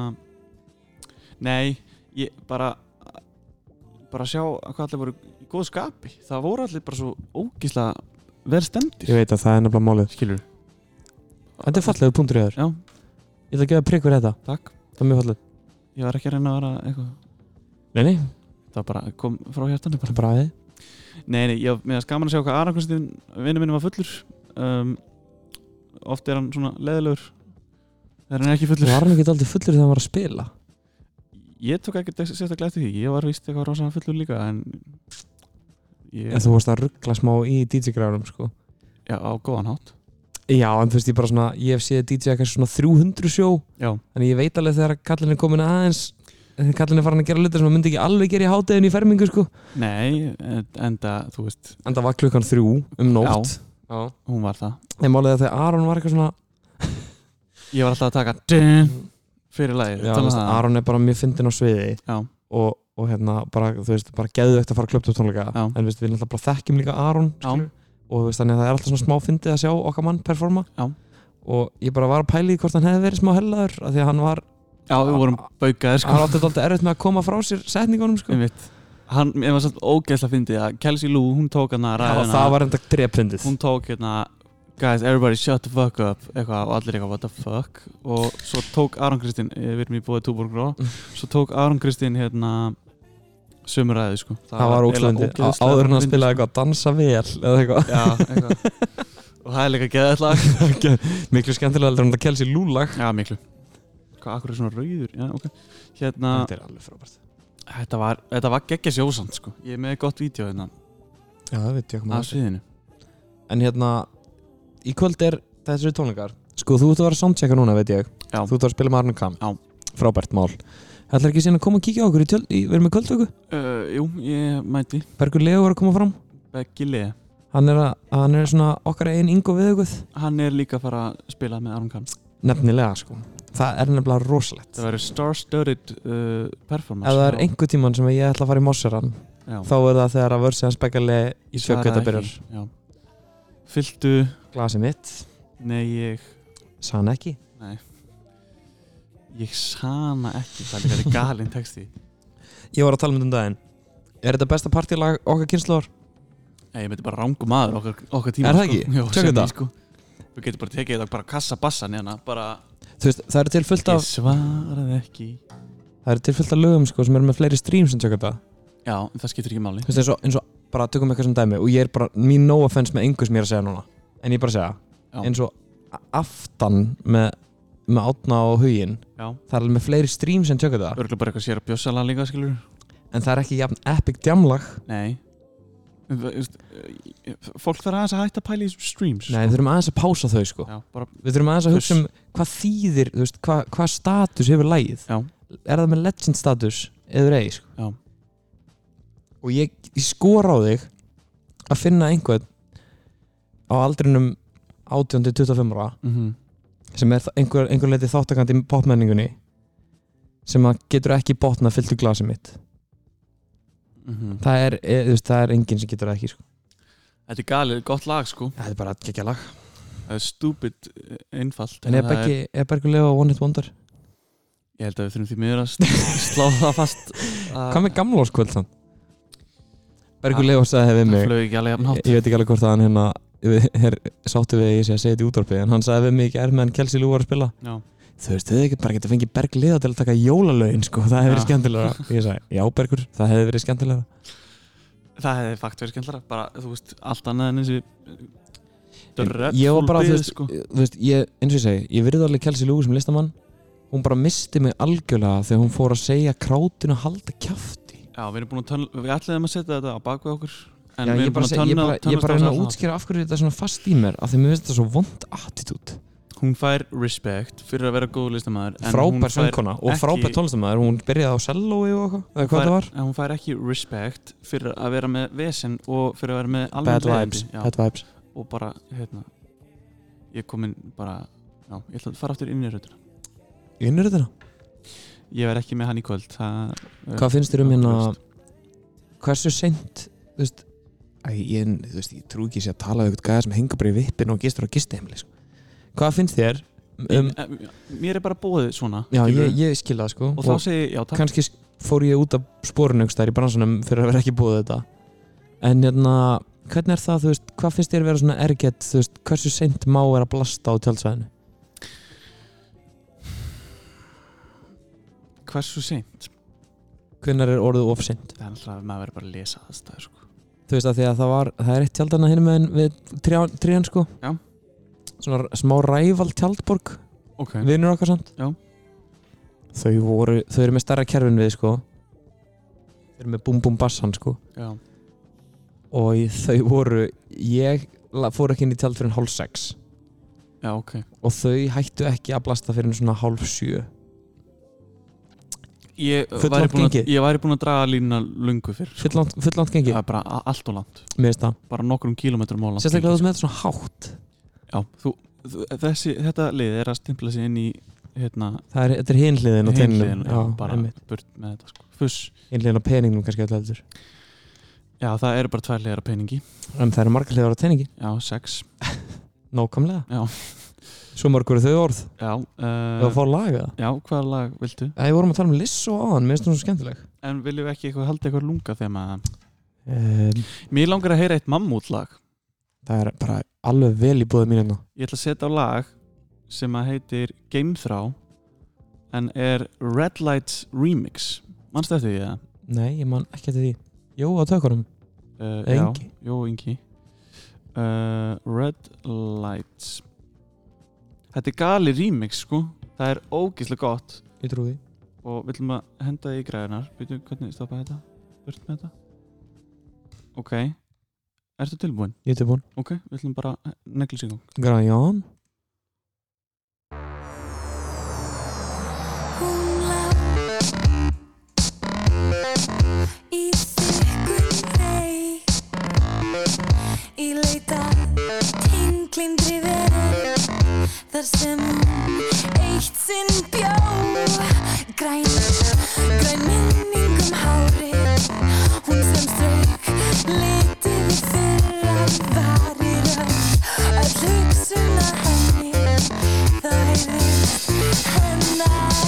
[SPEAKER 1] Nei, ég bara bara sjá hvað allir voru í góðu skapi það voru allir bara svo ógísla vel stemdir
[SPEAKER 2] Ég veit að það er nefnilega málið
[SPEAKER 1] Skilur
[SPEAKER 2] Þetta er fallegu punktur í þér
[SPEAKER 1] Já,
[SPEAKER 2] Ég ætla að gefa prikk fyrir þetta
[SPEAKER 1] takk
[SPEAKER 2] Það er mjög fallegu
[SPEAKER 1] Ég var ekki að reyna að vera eitthvað
[SPEAKER 2] Nei, nei,
[SPEAKER 1] Það bara kom frá hjartanu
[SPEAKER 2] það
[SPEAKER 1] bara.
[SPEAKER 2] er bara aðeins
[SPEAKER 1] Nei, nei, ég meðast gaman að sjá hvað Aron Kristinn vinnu minni var fullur um, Oft er hann svona leðilegur Þegar hann er ekki fullur
[SPEAKER 2] Var hann ekki alltaf fullur þegar hann var að spila?
[SPEAKER 1] Ég tók ekki sérstaklega eftir því Ég var víst eitthvað rosa fullur líka En ég,
[SPEAKER 2] Þú varst að ruggla smá í DJ-græðunum sko
[SPEAKER 1] já, á góðan hátt
[SPEAKER 2] Já, en þú veist, ég bara svona, ég hef séð DJ kannski svona 300 sjó,
[SPEAKER 1] Já,
[SPEAKER 2] þannig ég veit alveg þegar kallin er komin aðeins, þegar kallin er farin að gera hluti sem hann myndi ekki alveg gera í háteginu í fermingu, sko.
[SPEAKER 1] nei, en- enda, þú veist
[SPEAKER 2] En það var klukkan þrjú um nótt. Já. Já.
[SPEAKER 1] Hún var það
[SPEAKER 2] En málið er að þegar Aron var eitthvað svona,
[SPEAKER 1] Ég var alltaf að taka dun, Fyrir lagið
[SPEAKER 2] já,
[SPEAKER 1] tala
[SPEAKER 2] þú veist,
[SPEAKER 1] það.
[SPEAKER 2] Aron er bara mjög fyndin á sviði
[SPEAKER 1] Já.
[SPEAKER 2] og, og hérna, bara, þú veist, bara geðu eftir að fara klöpt upp tónleika.
[SPEAKER 1] Já.
[SPEAKER 2] En þú veist, við náttúrulega bara þekkjum líka Aron,
[SPEAKER 1] Já.
[SPEAKER 2] skilur. Og þú veist, þannig að það er alltaf svona smá fyndið að sjá okkar mann performa.
[SPEAKER 1] Já.
[SPEAKER 2] Og ég bara var að pæli hvort hann hefði verið smá hellaður, af því að hann var,
[SPEAKER 1] já, við vorum baukaðir sko
[SPEAKER 2] hann átti alltaf erfitt með að koma frá sér setningunum, sko.
[SPEAKER 1] Einmitt. Hann, ég var satt ógeðslega fyndið að Kelsey Lou, hún tók hann að
[SPEAKER 2] Já,
[SPEAKER 1] ræðina
[SPEAKER 2] það var enda drepfundið
[SPEAKER 1] hún tók hérna guys everybody shut the fuck up eitthvað og allir eitthvað what the fuck og svo tók Aron Kristinn eh, við erum í bóði Túborg Ró svo tók Aron Kristinn hérna sömuræði sko
[SPEAKER 2] Það var ókslendi Áður en að spila eitthvað að dansa vel eða eitthvað
[SPEAKER 1] já eitthvað og það er líka geðað lag
[SPEAKER 2] Miklu skemmtilega heldur en það kelsi lúlag
[SPEAKER 1] já miklu hvað akkur er svona rauður já ok hérna
[SPEAKER 2] Þetta er alveg frábært
[SPEAKER 1] þetta var þetta var geggja sjósand sko ég er með gott vídeo hérna
[SPEAKER 2] Já, það veit ég
[SPEAKER 1] af sviðinu
[SPEAKER 2] En hérna, í kvöld er þessu tónleikar Sko, þú ert að vera að soundchecka núna, veit ég
[SPEAKER 1] Já.
[SPEAKER 2] Þú ert að vera að spila með Arnum Kam
[SPEAKER 1] Já.
[SPEAKER 2] Frábært mál Ætlar ekki síðan að koma og kíkja á okkur í tjöld í, Við erum með kvöldvöku
[SPEAKER 1] uh, jú ég mæti
[SPEAKER 2] Bergur Leo var að koma fram
[SPEAKER 1] Beggi Le
[SPEAKER 2] Hann er, að, hann er svona okkar einn yngo við okkur
[SPEAKER 1] hann er líka að fara að spila með Aron Kahn
[SPEAKER 2] Nefnilega, sko Það er nefnilega rosalegt
[SPEAKER 1] Það verður star-studded uh, performance
[SPEAKER 2] Ef það er einhver tíman sem ég ætla að fara í Mosseran
[SPEAKER 1] einhver
[SPEAKER 2] þá er það þegar að vörsi hans bekkali í sjökkvita byrjar
[SPEAKER 1] Fyltu,
[SPEAKER 2] glasi mitt,
[SPEAKER 1] nei ég
[SPEAKER 2] sann ekki
[SPEAKER 1] Nei Ég sana ekki Það er líka galinn texti
[SPEAKER 2] Ég var að tala um þetta um daginn Er þetta besta partílag okkar kynsluðar?
[SPEAKER 1] Nei, ég myndi bara rangu maður okkar, okkar tíma
[SPEAKER 2] Er það
[SPEAKER 1] sko.
[SPEAKER 2] ekki?
[SPEAKER 1] Jó,
[SPEAKER 2] Tökum
[SPEAKER 1] sem
[SPEAKER 2] þetta.
[SPEAKER 1] ég, sko. Við getum bara tekið þetta bara kassa bassa neðan bara
[SPEAKER 2] Þú veist, það eru til fullt
[SPEAKER 1] Ég
[SPEAKER 2] af
[SPEAKER 1] svaraði ekki
[SPEAKER 2] Það eru til fullt af lögum sko sem eru með fleiri streams en tjöka þetta
[SPEAKER 1] Já, en það skiptir ekki máli
[SPEAKER 2] Þú veist, eins og, eins og bara tökum eitthvað sem dæmi og ég er bara, mín no offense með engu sem ég er að segja núna En ég er bara að segja
[SPEAKER 1] Já.
[SPEAKER 2] Eins og a- aftan með, með átna og hugin
[SPEAKER 1] Já,
[SPEAKER 2] Það er alveg með fleiri streams en tjöka þetta
[SPEAKER 1] örgulega bara eitthvað sér að bjössala líka skilur
[SPEAKER 2] En það er ekki jafn epic djamlag
[SPEAKER 1] Nei En það, þú veist, eh, Fólk þarf aðeins að hætta að pæla í þessum streams
[SPEAKER 2] Nei, við þurfum aðeins að pása þau sko
[SPEAKER 1] Já, bara,
[SPEAKER 2] Við þurfum aðeins að
[SPEAKER 1] Puss.
[SPEAKER 2] hugsa um hvað þýðir, þú veist, hvað, hvað status hefur lægið
[SPEAKER 1] Já.
[SPEAKER 2] Er það með legend status eður ei sko
[SPEAKER 1] Já.
[SPEAKER 2] Og ég, ég skora á þig að finna einhvern á aldrinum 18-25 ára
[SPEAKER 1] mm
[SPEAKER 2] sem er þa- einhver, einhver leiti þáttakandi í popmenningunni sem að getur ekki botna fyllt úr glasi mitt
[SPEAKER 1] Mhm.
[SPEAKER 2] það er, e, þú veist, það er enginn sem getur það ekki sko.
[SPEAKER 1] Þetta er galið, gott lag sko
[SPEAKER 2] það er bara ekki ekki lag
[SPEAKER 1] Það er stúpid eh, einfalt
[SPEAKER 2] en er
[SPEAKER 1] það
[SPEAKER 2] bara ekki, er bara ekki lega One Hit Wonder
[SPEAKER 1] Ég held að við þurfum því miður að st- slá það fast
[SPEAKER 2] hvað með gamlórskvöld þann bara ekki lega sagði við
[SPEAKER 1] Það
[SPEAKER 2] mig
[SPEAKER 1] flög ekki alveg jafn
[SPEAKER 2] ég,
[SPEAKER 1] hátt
[SPEAKER 2] ég veit ekki alveg hvort að hann hérna við- her, sáttu við að ég sé að segja þetta í útvarpi en hann sagði við mig ekki er meðan Kelsey Lou var að spila
[SPEAKER 1] Já.
[SPEAKER 2] þú veist, þið ekki bara getið að fengi Berg Liða til að taka jólalögin sko, það hefði verið
[SPEAKER 1] Já.
[SPEAKER 2] skemmtilega ég sagði, já Bergur, það hefði verið skemmtilega
[SPEAKER 1] Það hefði fakt verið skemmtlara bara, þú veist, allt annað en eh, eins og
[SPEAKER 2] Ég var bara, þú veist,
[SPEAKER 1] sko.
[SPEAKER 2] þú veist ég, eins og ég segi, ég virði alveg Kelsey Lou sem listamann hún bara misti mig algjörlega þegar hún fór að segja krátinu að halda kjafti
[SPEAKER 1] Já, við erum búin að tönna Við ætlaðum að setja þetta á bakvið okkur En
[SPEAKER 2] Já,
[SPEAKER 1] við
[SPEAKER 2] ég
[SPEAKER 1] erum búin
[SPEAKER 2] bara,
[SPEAKER 1] að
[SPEAKER 2] seg, ég
[SPEAKER 1] tönna
[SPEAKER 2] bara, ég bara reyna að útskýra af hverju þetta er svona fast í mér af því mér finnst þetta svo vond attitút
[SPEAKER 1] Hún fær respect fyrir að vera góð listamæður
[SPEAKER 2] frábær söngkona og
[SPEAKER 1] ekki-
[SPEAKER 2] frábær tónlistamæður hún byrjaði á sellói og eitthvað, eða hvað það var
[SPEAKER 1] En hún fær ekki respect fyrir að vera með vesen og fyrir að vera með alveg
[SPEAKER 2] Bad vibes, bad vibes
[SPEAKER 1] Og bara, hérna Ég kom inn bara Já, ég ætla að fara aftur inn í röðuna
[SPEAKER 2] Innur þetta?
[SPEAKER 1] Ég verð ekki með hann í kvöld það,
[SPEAKER 2] Hvað finnst þér um hérna
[SPEAKER 1] Þú veist.
[SPEAKER 2] hversu seint þú veist, æ, ég, þú veist, ég trú ekki sé að tala um eitthvað gæða sem hengur bara í vippin og gistur á gisteheimili sko. hvað finnst þér um,
[SPEAKER 1] Mér er bara bóðið svona
[SPEAKER 2] já,
[SPEAKER 1] skilurðu.
[SPEAKER 2] ég, ég skil það sko
[SPEAKER 1] Og þá segi ég, já takk
[SPEAKER 2] kannski sk- fór ég út af spórunugstær í bransunum fyrir að vera ekki búið þetta en hérna hvernig er það, þú veist, hvað finnst þér að vera svona ergett, þú veist, hversu seint má er að blasta á tjálsæðinu?
[SPEAKER 1] Hversu seint?
[SPEAKER 2] Hvernig er orðið of seint?
[SPEAKER 1] Það er alltaf að maður verður bara að lesa aðstæður sko.
[SPEAKER 2] Þú veist að því að það var, það er eitt tjaldana hérna meðan við trján, trján sko
[SPEAKER 1] Já.
[SPEAKER 2] Svona r- smá ræval tjaldborg
[SPEAKER 1] Ok
[SPEAKER 2] vinnur okkar samt
[SPEAKER 1] Já.
[SPEAKER 2] þau voru, þau eru með starra kerfin við sko þau eru með búm búm bassan sko
[SPEAKER 1] Já
[SPEAKER 2] og ég- þau voru ég la- fór ekki inn í tjald fyrir en hálf sex
[SPEAKER 1] Já, ok.
[SPEAKER 2] og þau hættu ekki að blasta fyrir en svona hálf sjö
[SPEAKER 1] Ég væri,
[SPEAKER 2] Fulllangt
[SPEAKER 1] búin að,
[SPEAKER 2] gengi?
[SPEAKER 1] ég væri búin að draga línuna lungu fyrr. sko.
[SPEAKER 2] fullant, fullant gengi,
[SPEAKER 1] Það er bara a- allt og langt.
[SPEAKER 2] mér finnst það
[SPEAKER 1] Bara nokkrum kílómetrum á langt.
[SPEAKER 2] sérstaklega
[SPEAKER 1] gengi,
[SPEAKER 2] þú ert með þetta svona hátt
[SPEAKER 1] sko. Já, þú, þú, þessi, þetta lið er að stimpla sig inn í hérna,
[SPEAKER 2] það er, þetta er hinliðin á tenninu
[SPEAKER 1] hinliðinu. Já, bara burt með þetta sko. Fuss.
[SPEAKER 2] hinliðin á peningnum kannski alltaf heldur
[SPEAKER 1] Já, það eru bara tvær liðar að peningi.
[SPEAKER 2] en það eru margar hliðar á tenningi,
[SPEAKER 1] Já, sex.
[SPEAKER 2] nákvæmlega
[SPEAKER 1] Já.
[SPEAKER 2] svo margur eru þau orð,
[SPEAKER 1] Já,
[SPEAKER 2] þau að
[SPEAKER 1] uh,
[SPEAKER 2] fá að laga það
[SPEAKER 1] já hvaða lag viltu?
[SPEAKER 2] Það ég vorum að tala um Lissó áðan, mér finnst það svo skemmtileg
[SPEAKER 1] En viljum við ekki eitthvað halda eitthvað lunga þegar maður...
[SPEAKER 2] um,
[SPEAKER 1] Mér langar að heyra eitt mammútlag.
[SPEAKER 2] Það er bara alveg vel í búða mínu nú
[SPEAKER 1] Ég ætla að setja á lag sem að heitir Gameþrá en er Red Lights Remix. Manstu eftir því það?
[SPEAKER 2] Nei, ég man ekki eftir því Jó, á tökunum
[SPEAKER 1] Uh,
[SPEAKER 2] Eða
[SPEAKER 1] já,
[SPEAKER 2] Ingi?
[SPEAKER 1] Jó, Ingi uh, Red Lights Þetta er gali remix sko Það er ógíslega gott
[SPEAKER 2] Ég trú því
[SPEAKER 1] og við viljum að henda því í græðinar Býtum, hvernig stoppa þetta? Burt með þetta Ok Ertu tilbúin?
[SPEAKER 2] Ég er tilbúin
[SPEAKER 1] Ok, við viljum bara negli sig í gang
[SPEAKER 2] Græðan Jón
[SPEAKER 8] Í þykkum reyk Í leita tinglindri verð Þar sem hún eitt sinn bjó Græn, græn minning um hárið Hún sem strauk litið í fyrra varir öll Öll hugsun að henni Það heyrðist hennar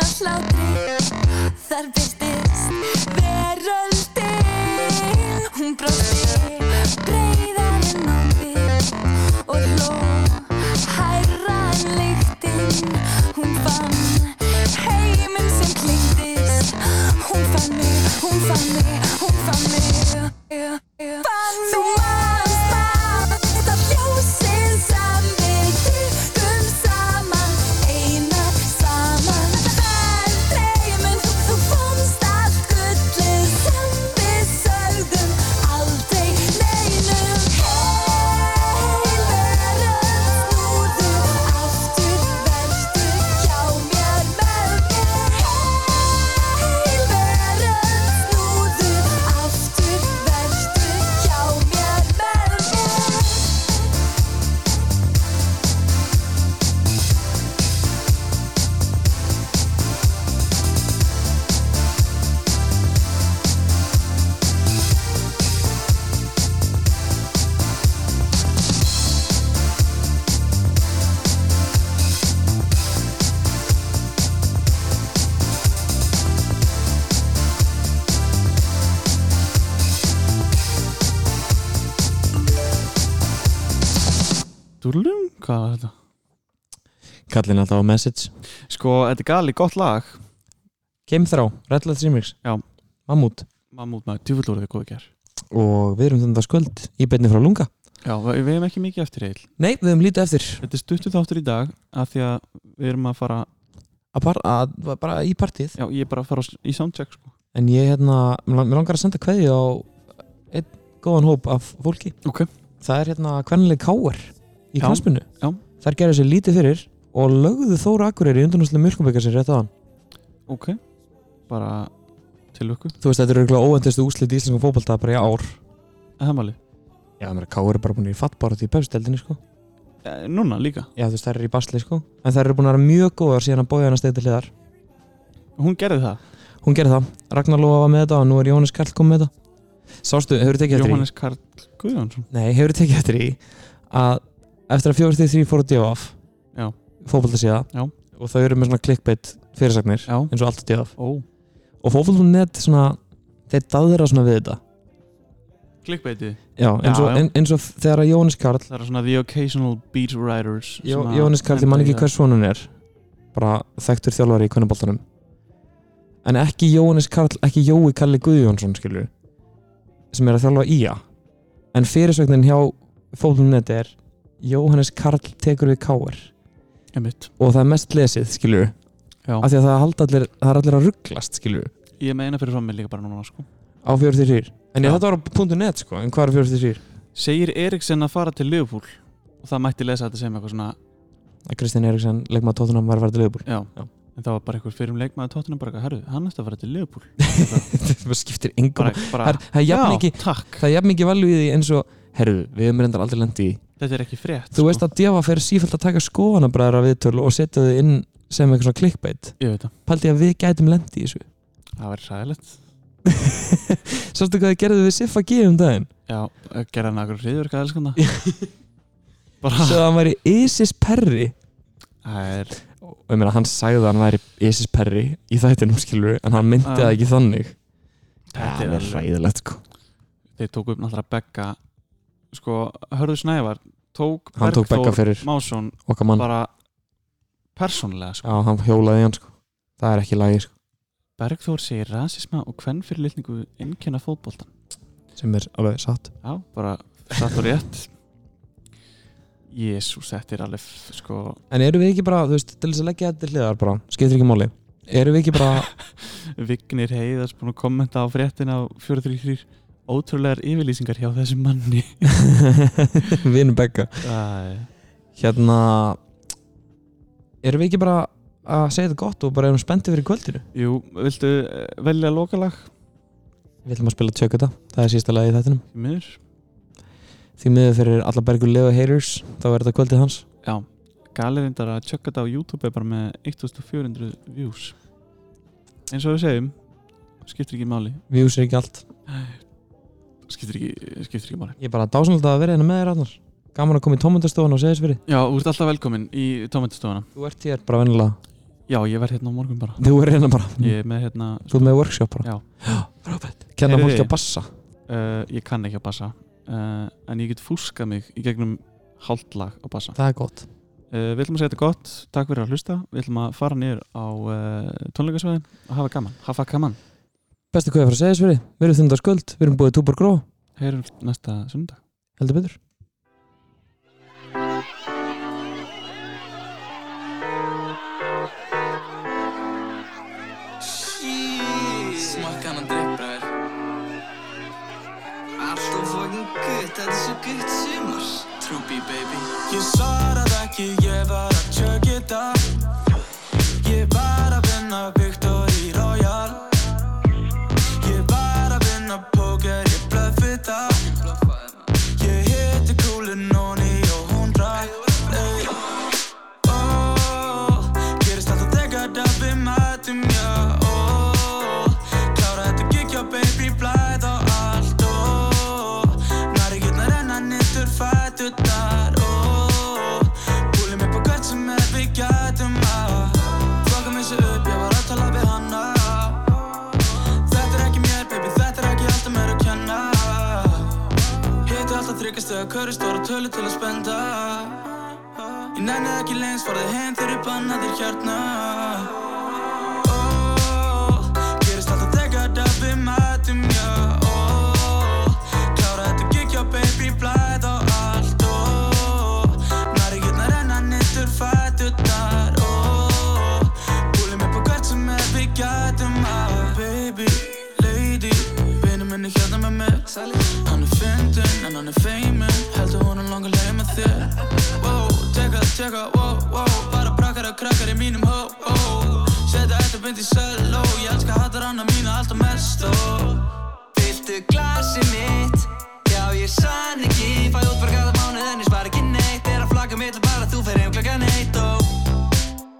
[SPEAKER 8] hlátri Þar byrtist veröldin Hún brosti breyðar en áður Og hló hærra en lyktin Hún fann heiminn sem klingdist Hún fann mig, hún fann mig, hún fann mig Fann mig Þú manst það, þetta ljósin sem við byggum saman Einar saman Aldrei mun þú, þú fannst allt gullið sem við sögðum Aldrei neinum Heil veröld snúðu aftur Vertu hjá mér með mér Heil veröld snúðu aftur Vertu hjá mér með mér
[SPEAKER 1] Dúlum, hvað var þetta?
[SPEAKER 2] Kallin alltaf á message
[SPEAKER 1] Sko, þetta er gali gott lag
[SPEAKER 2] Kim Þrá, Redlet Remix
[SPEAKER 1] Já.
[SPEAKER 2] Mammút
[SPEAKER 1] Mammút maður, djúfull voru þið góðu ger
[SPEAKER 2] Og við erum þannig að skvöld í beinni frá Lunga
[SPEAKER 1] Já, við við hefum ekki mikið eftir eil
[SPEAKER 2] Nei, við höfum lítið eftir
[SPEAKER 1] Þetta er stuttu þáttur í dag af því að við erum að fara
[SPEAKER 2] að bara, að, bara í partíð
[SPEAKER 1] Já, ég er bara að fara á s- í soundcheck sko.
[SPEAKER 2] En ég hérna, mér lang- mig langar að senda kveði á einn góðan hóp af fólki
[SPEAKER 1] Ok.
[SPEAKER 2] Það er hérna hvernig káar í
[SPEAKER 1] Já,
[SPEAKER 2] knaspinu
[SPEAKER 1] já.
[SPEAKER 2] Þær gerðu sér lítið fyrir og lögðu Þóra Akureyri í undanúslega mjölkumbyggar sér rétt aðan
[SPEAKER 1] Ok, bara til lukku
[SPEAKER 2] Þú veist, þetta eru örugglega óendistu úslit í íslenskum fótbolta bara í ár
[SPEAKER 1] Hemmali
[SPEAKER 2] Já, mér að káar er bara búin í fattbárat í pepsteldinni sko
[SPEAKER 1] Eh, Núna líka
[SPEAKER 2] Já, þú veist, þær eru í basli sko En þær eru búin að vera mjög góðar síðan að bója hana steyti hliðar
[SPEAKER 1] Hún gerði það
[SPEAKER 2] Hún gerði það, Ragnar Lóa var með þetta og nú er Jóhannes Karl kom með þetta Sástu, hefur tekið eftir í-
[SPEAKER 1] Jóhannes Karl Guðjónsson
[SPEAKER 2] Nei, hefur þið tekið eftir í að eftir að 43 fór að divaf
[SPEAKER 1] Já.
[SPEAKER 2] fótbolta síða
[SPEAKER 1] Já.
[SPEAKER 2] og þau eru með svona clickbait fyrirsagnir
[SPEAKER 1] Já,
[SPEAKER 2] eins og allt divaf
[SPEAKER 1] ó
[SPEAKER 2] og fótbolta.net svona þeir daðra svona við þetta
[SPEAKER 1] Klikkbeitið
[SPEAKER 2] já, eins,
[SPEAKER 1] Já,
[SPEAKER 2] og,
[SPEAKER 1] já.
[SPEAKER 2] En, eins og þegar að Jónis Karl
[SPEAKER 1] Það eru svona the occasional beat writers
[SPEAKER 2] Jó,
[SPEAKER 1] sem að
[SPEAKER 2] Jónis Karl, ég man
[SPEAKER 1] enda í
[SPEAKER 2] ekki
[SPEAKER 1] það.
[SPEAKER 2] hvers hún er bara þekktur þjálfari í kvennaboltanum en ekki Jónis Karl ekki Jói Kalli Guðjónsson skilur sem er að þjálfa í að en fyrirsögnin hjá fótbolta.net er Jóhannes Karl tekur við káir
[SPEAKER 1] Einmitt.
[SPEAKER 2] og það er mest lesið, skilju
[SPEAKER 1] Já.
[SPEAKER 2] af því að það, halda allir, það er allir að rugglast, skilju
[SPEAKER 1] Ég meina fyrir fram mig líka bara núna sko.
[SPEAKER 2] á 43 en
[SPEAKER 1] Já.
[SPEAKER 2] ég, þetta var á punktu .net, sko, en hvað er 43?
[SPEAKER 1] Segir Eriksen að fara til Liverpool og það mætti lesa þetta sem eitthvað svona
[SPEAKER 2] að Kristján Eriksson, leikmaður tóttunum, var að fara til Leifbúl
[SPEAKER 1] Já,
[SPEAKER 2] Já.
[SPEAKER 1] en það var bara einhver fyrir um leikmaði tóttunum bara, herru, hann eftir að fara til Liverpool
[SPEAKER 2] það skiptir engum
[SPEAKER 1] bara,
[SPEAKER 2] máli.
[SPEAKER 1] bara,
[SPEAKER 2] það er- það er jafn
[SPEAKER 1] já,
[SPEAKER 2] mikið
[SPEAKER 1] takk
[SPEAKER 2] það er jafn mikið valju í því eins og herru, við höfum reyndar aldrei lendi í
[SPEAKER 1] þetta er ekki frétt sko.
[SPEAKER 2] þú veist að Djafa fer sífælt að taka skoðanabræðra viðtöl og setja þau inn sem eitthvað svona clickbait
[SPEAKER 1] ég veit það,
[SPEAKER 2] paldi að við gætum lendi í þessu
[SPEAKER 1] það verður sæðilegt
[SPEAKER 2] sástu hvað þið gerðu við Siffa G um daginn
[SPEAKER 1] já, gerða hann akkur hriðverka elskanda bara,
[SPEAKER 2] svo að hann væri Isis Perri
[SPEAKER 1] það er
[SPEAKER 2] og ég meina hann sagði að hann væri Isis Perry í þættinum skilur en hann myndi
[SPEAKER 1] Já.
[SPEAKER 2] það ekki þannig
[SPEAKER 1] Þetta er
[SPEAKER 2] Það
[SPEAKER 1] alveg-
[SPEAKER 2] hræðilegt sko
[SPEAKER 1] þeir tóku upp náttúrulega Begga sko, Hörður Snævar tók
[SPEAKER 2] hann tók bekka fyrir
[SPEAKER 1] Másson
[SPEAKER 2] okkar mann
[SPEAKER 1] bara persónlega sko.
[SPEAKER 2] já hann hjólaði í hann sko það er ekki lagi sko
[SPEAKER 1] Bergþór segir rasisma og hvern fyrir litningu einkenna fótboltan
[SPEAKER 2] sem er alveg satt
[SPEAKER 1] já, bara satt og rétt Jésús, þetta er alveg f- sko,
[SPEAKER 2] en eru við ekki bara þú veist til þess að leggja þetta til hliðar bara skiptir ekki máli eru við ekki bara
[SPEAKER 1] Vignir Heiðars búin að kommenta á fréttin á 433 ótrúlegar yfirlýsingar hjá þessum manni
[SPEAKER 2] vinnu bekka hérna eru við ekki bara að segja þetta gott og bara erum spenntið fyrir kvöldinu
[SPEAKER 1] Jú, viltu eh, velja lokalag?
[SPEAKER 2] við ætlum að spila tjökuta það er sísta lagi í þættinum
[SPEAKER 1] Því miður
[SPEAKER 2] því miður fyrir alla bergur Leo haters þá er þetta kvöldið hans
[SPEAKER 1] Já, galerindar að tjökka þetta á YouTube er bara með 1400 views eins og við segjum skiptir ekki máli
[SPEAKER 2] views er ekki allt
[SPEAKER 1] skiptir ekki, skiptir ekki máli
[SPEAKER 2] Ég er bara dásanlega að vera hérna með þér annar Gaman að koma í tómundastofan og segja þess fyrir
[SPEAKER 1] Já, þú ert alltaf velkomin í tómæntastofana
[SPEAKER 2] Þú ert hér bara vennilega
[SPEAKER 1] Já, ég verð hérna á morgun bara
[SPEAKER 2] Þú er hérna bara,
[SPEAKER 1] Ég er með hérna
[SPEAKER 2] þú er með workshop bara
[SPEAKER 1] Já.
[SPEAKER 2] Robert, kenna
[SPEAKER 1] Heyrðu
[SPEAKER 2] fólki
[SPEAKER 1] þið?
[SPEAKER 2] að bassa
[SPEAKER 1] uh, Ég kann ekki að bassa uh, En ég get fúskað mig í gegnum hálft lag að bassa
[SPEAKER 2] Það er gott
[SPEAKER 1] Uh, við ætlum að segja þetta gott, takk fyrir að hlusta Við ætlum að fara niður á uh, tónleikasvæðin og hafa gaman, hafa gaman
[SPEAKER 2] Bestu hvað ég fara að segja sveri, við erum þundarskuld, við erum búið túbor gró,
[SPEAKER 1] Heyrum næsta sundag
[SPEAKER 2] heldur betur
[SPEAKER 4] Smakka hann að dreipbræður Alltaf fucking gutt, þetta er svo gutt sumar Trúbi baby
[SPEAKER 3] Ég svarað ekki, ég var að tjöggi það Ég var að vinna Victory Royal Ég var að vinna póker, ég blöffi það Ég hitti kúlu nóni og hún drak ey. Ó, Oh, Gerist alltaf þegar að við mætum, já ó. Oh, Klára þetta gig, já baby, blæð og allt ó. Nari getna renna niður fæturnar Búlum upp á hvert sem er við gætum að Fucka mig svo upp, ég var að tala við hanna Þetta er ekki mér, baby, þetta er ekki allt um mér að kenna Hittu alltaf þryggjast eða hverju stóra tölu til að spenda Ég nenni ekki lengst, farði heim þegar ég banna þér hérna Ó, Gerist alltaf þegar að við mætum, já ó. Klára þetta gig, já baby, blæð og allt ó. Nari getna renna nýttur fæturnar ó. Búlum upp á hvert sem er við gætum að Baby, lady, vinur minni hérna með mér Hann er fyndinn, en hann er feimin Heldur hún er langar leið með þér Wow, tjekka, tjekka, wow, wow Bara brakkar og krakkar í mínum hó, hó Setta þetta beint í söló Ég elska hattar hana mína alltaf mest og
[SPEAKER 4] Viltu glasi mitt? Já ég sann ekki Fæ út bara gata mánuð en ég spara ekki neitt Er að flagga mitt bara þú fer heim klokkan eitt og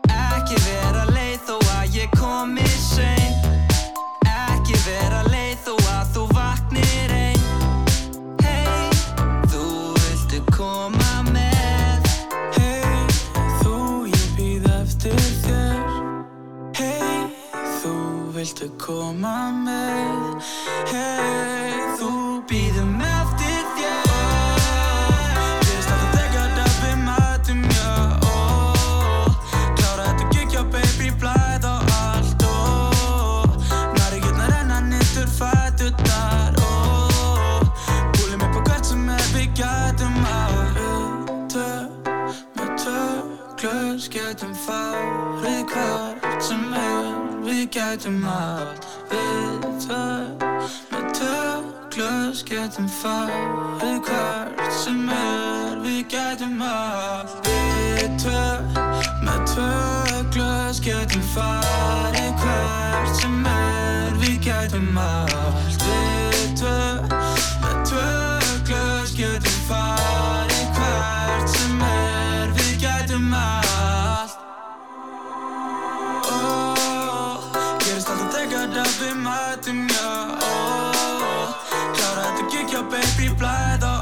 [SPEAKER 4] Ekki vera leið þó að ég komi sein Ekki vera leið þó að þú vaknir ein Hey, þú viltu koma með
[SPEAKER 3] Hey, þú ég býð eftir þér Hey, þú viltu koma með Hey, þú
[SPEAKER 4] Býðum eftir þér
[SPEAKER 3] gerist alltaf þegar að við mætum, já ó. Klára þetta gig, já baby, blæð og allt ó. Nari getna renna niður fæturnar ó. Búlum upp á hvert sem er við gætum að Við tvö, með um tvö glös getum farið hvert sem er Við gætum allt Við tvö, með tvö glös getum farið hvert sem er Við gætum allt Við tvö, með tvö glös getum farið hvert sem er Við gætum allt Við tvö, með tvö glös getum farið hvert sem er Við gætum allt oh, Gerist alltaf þegar að við mætum, já oh, Klára þetta gig, já baby, blæð og oh.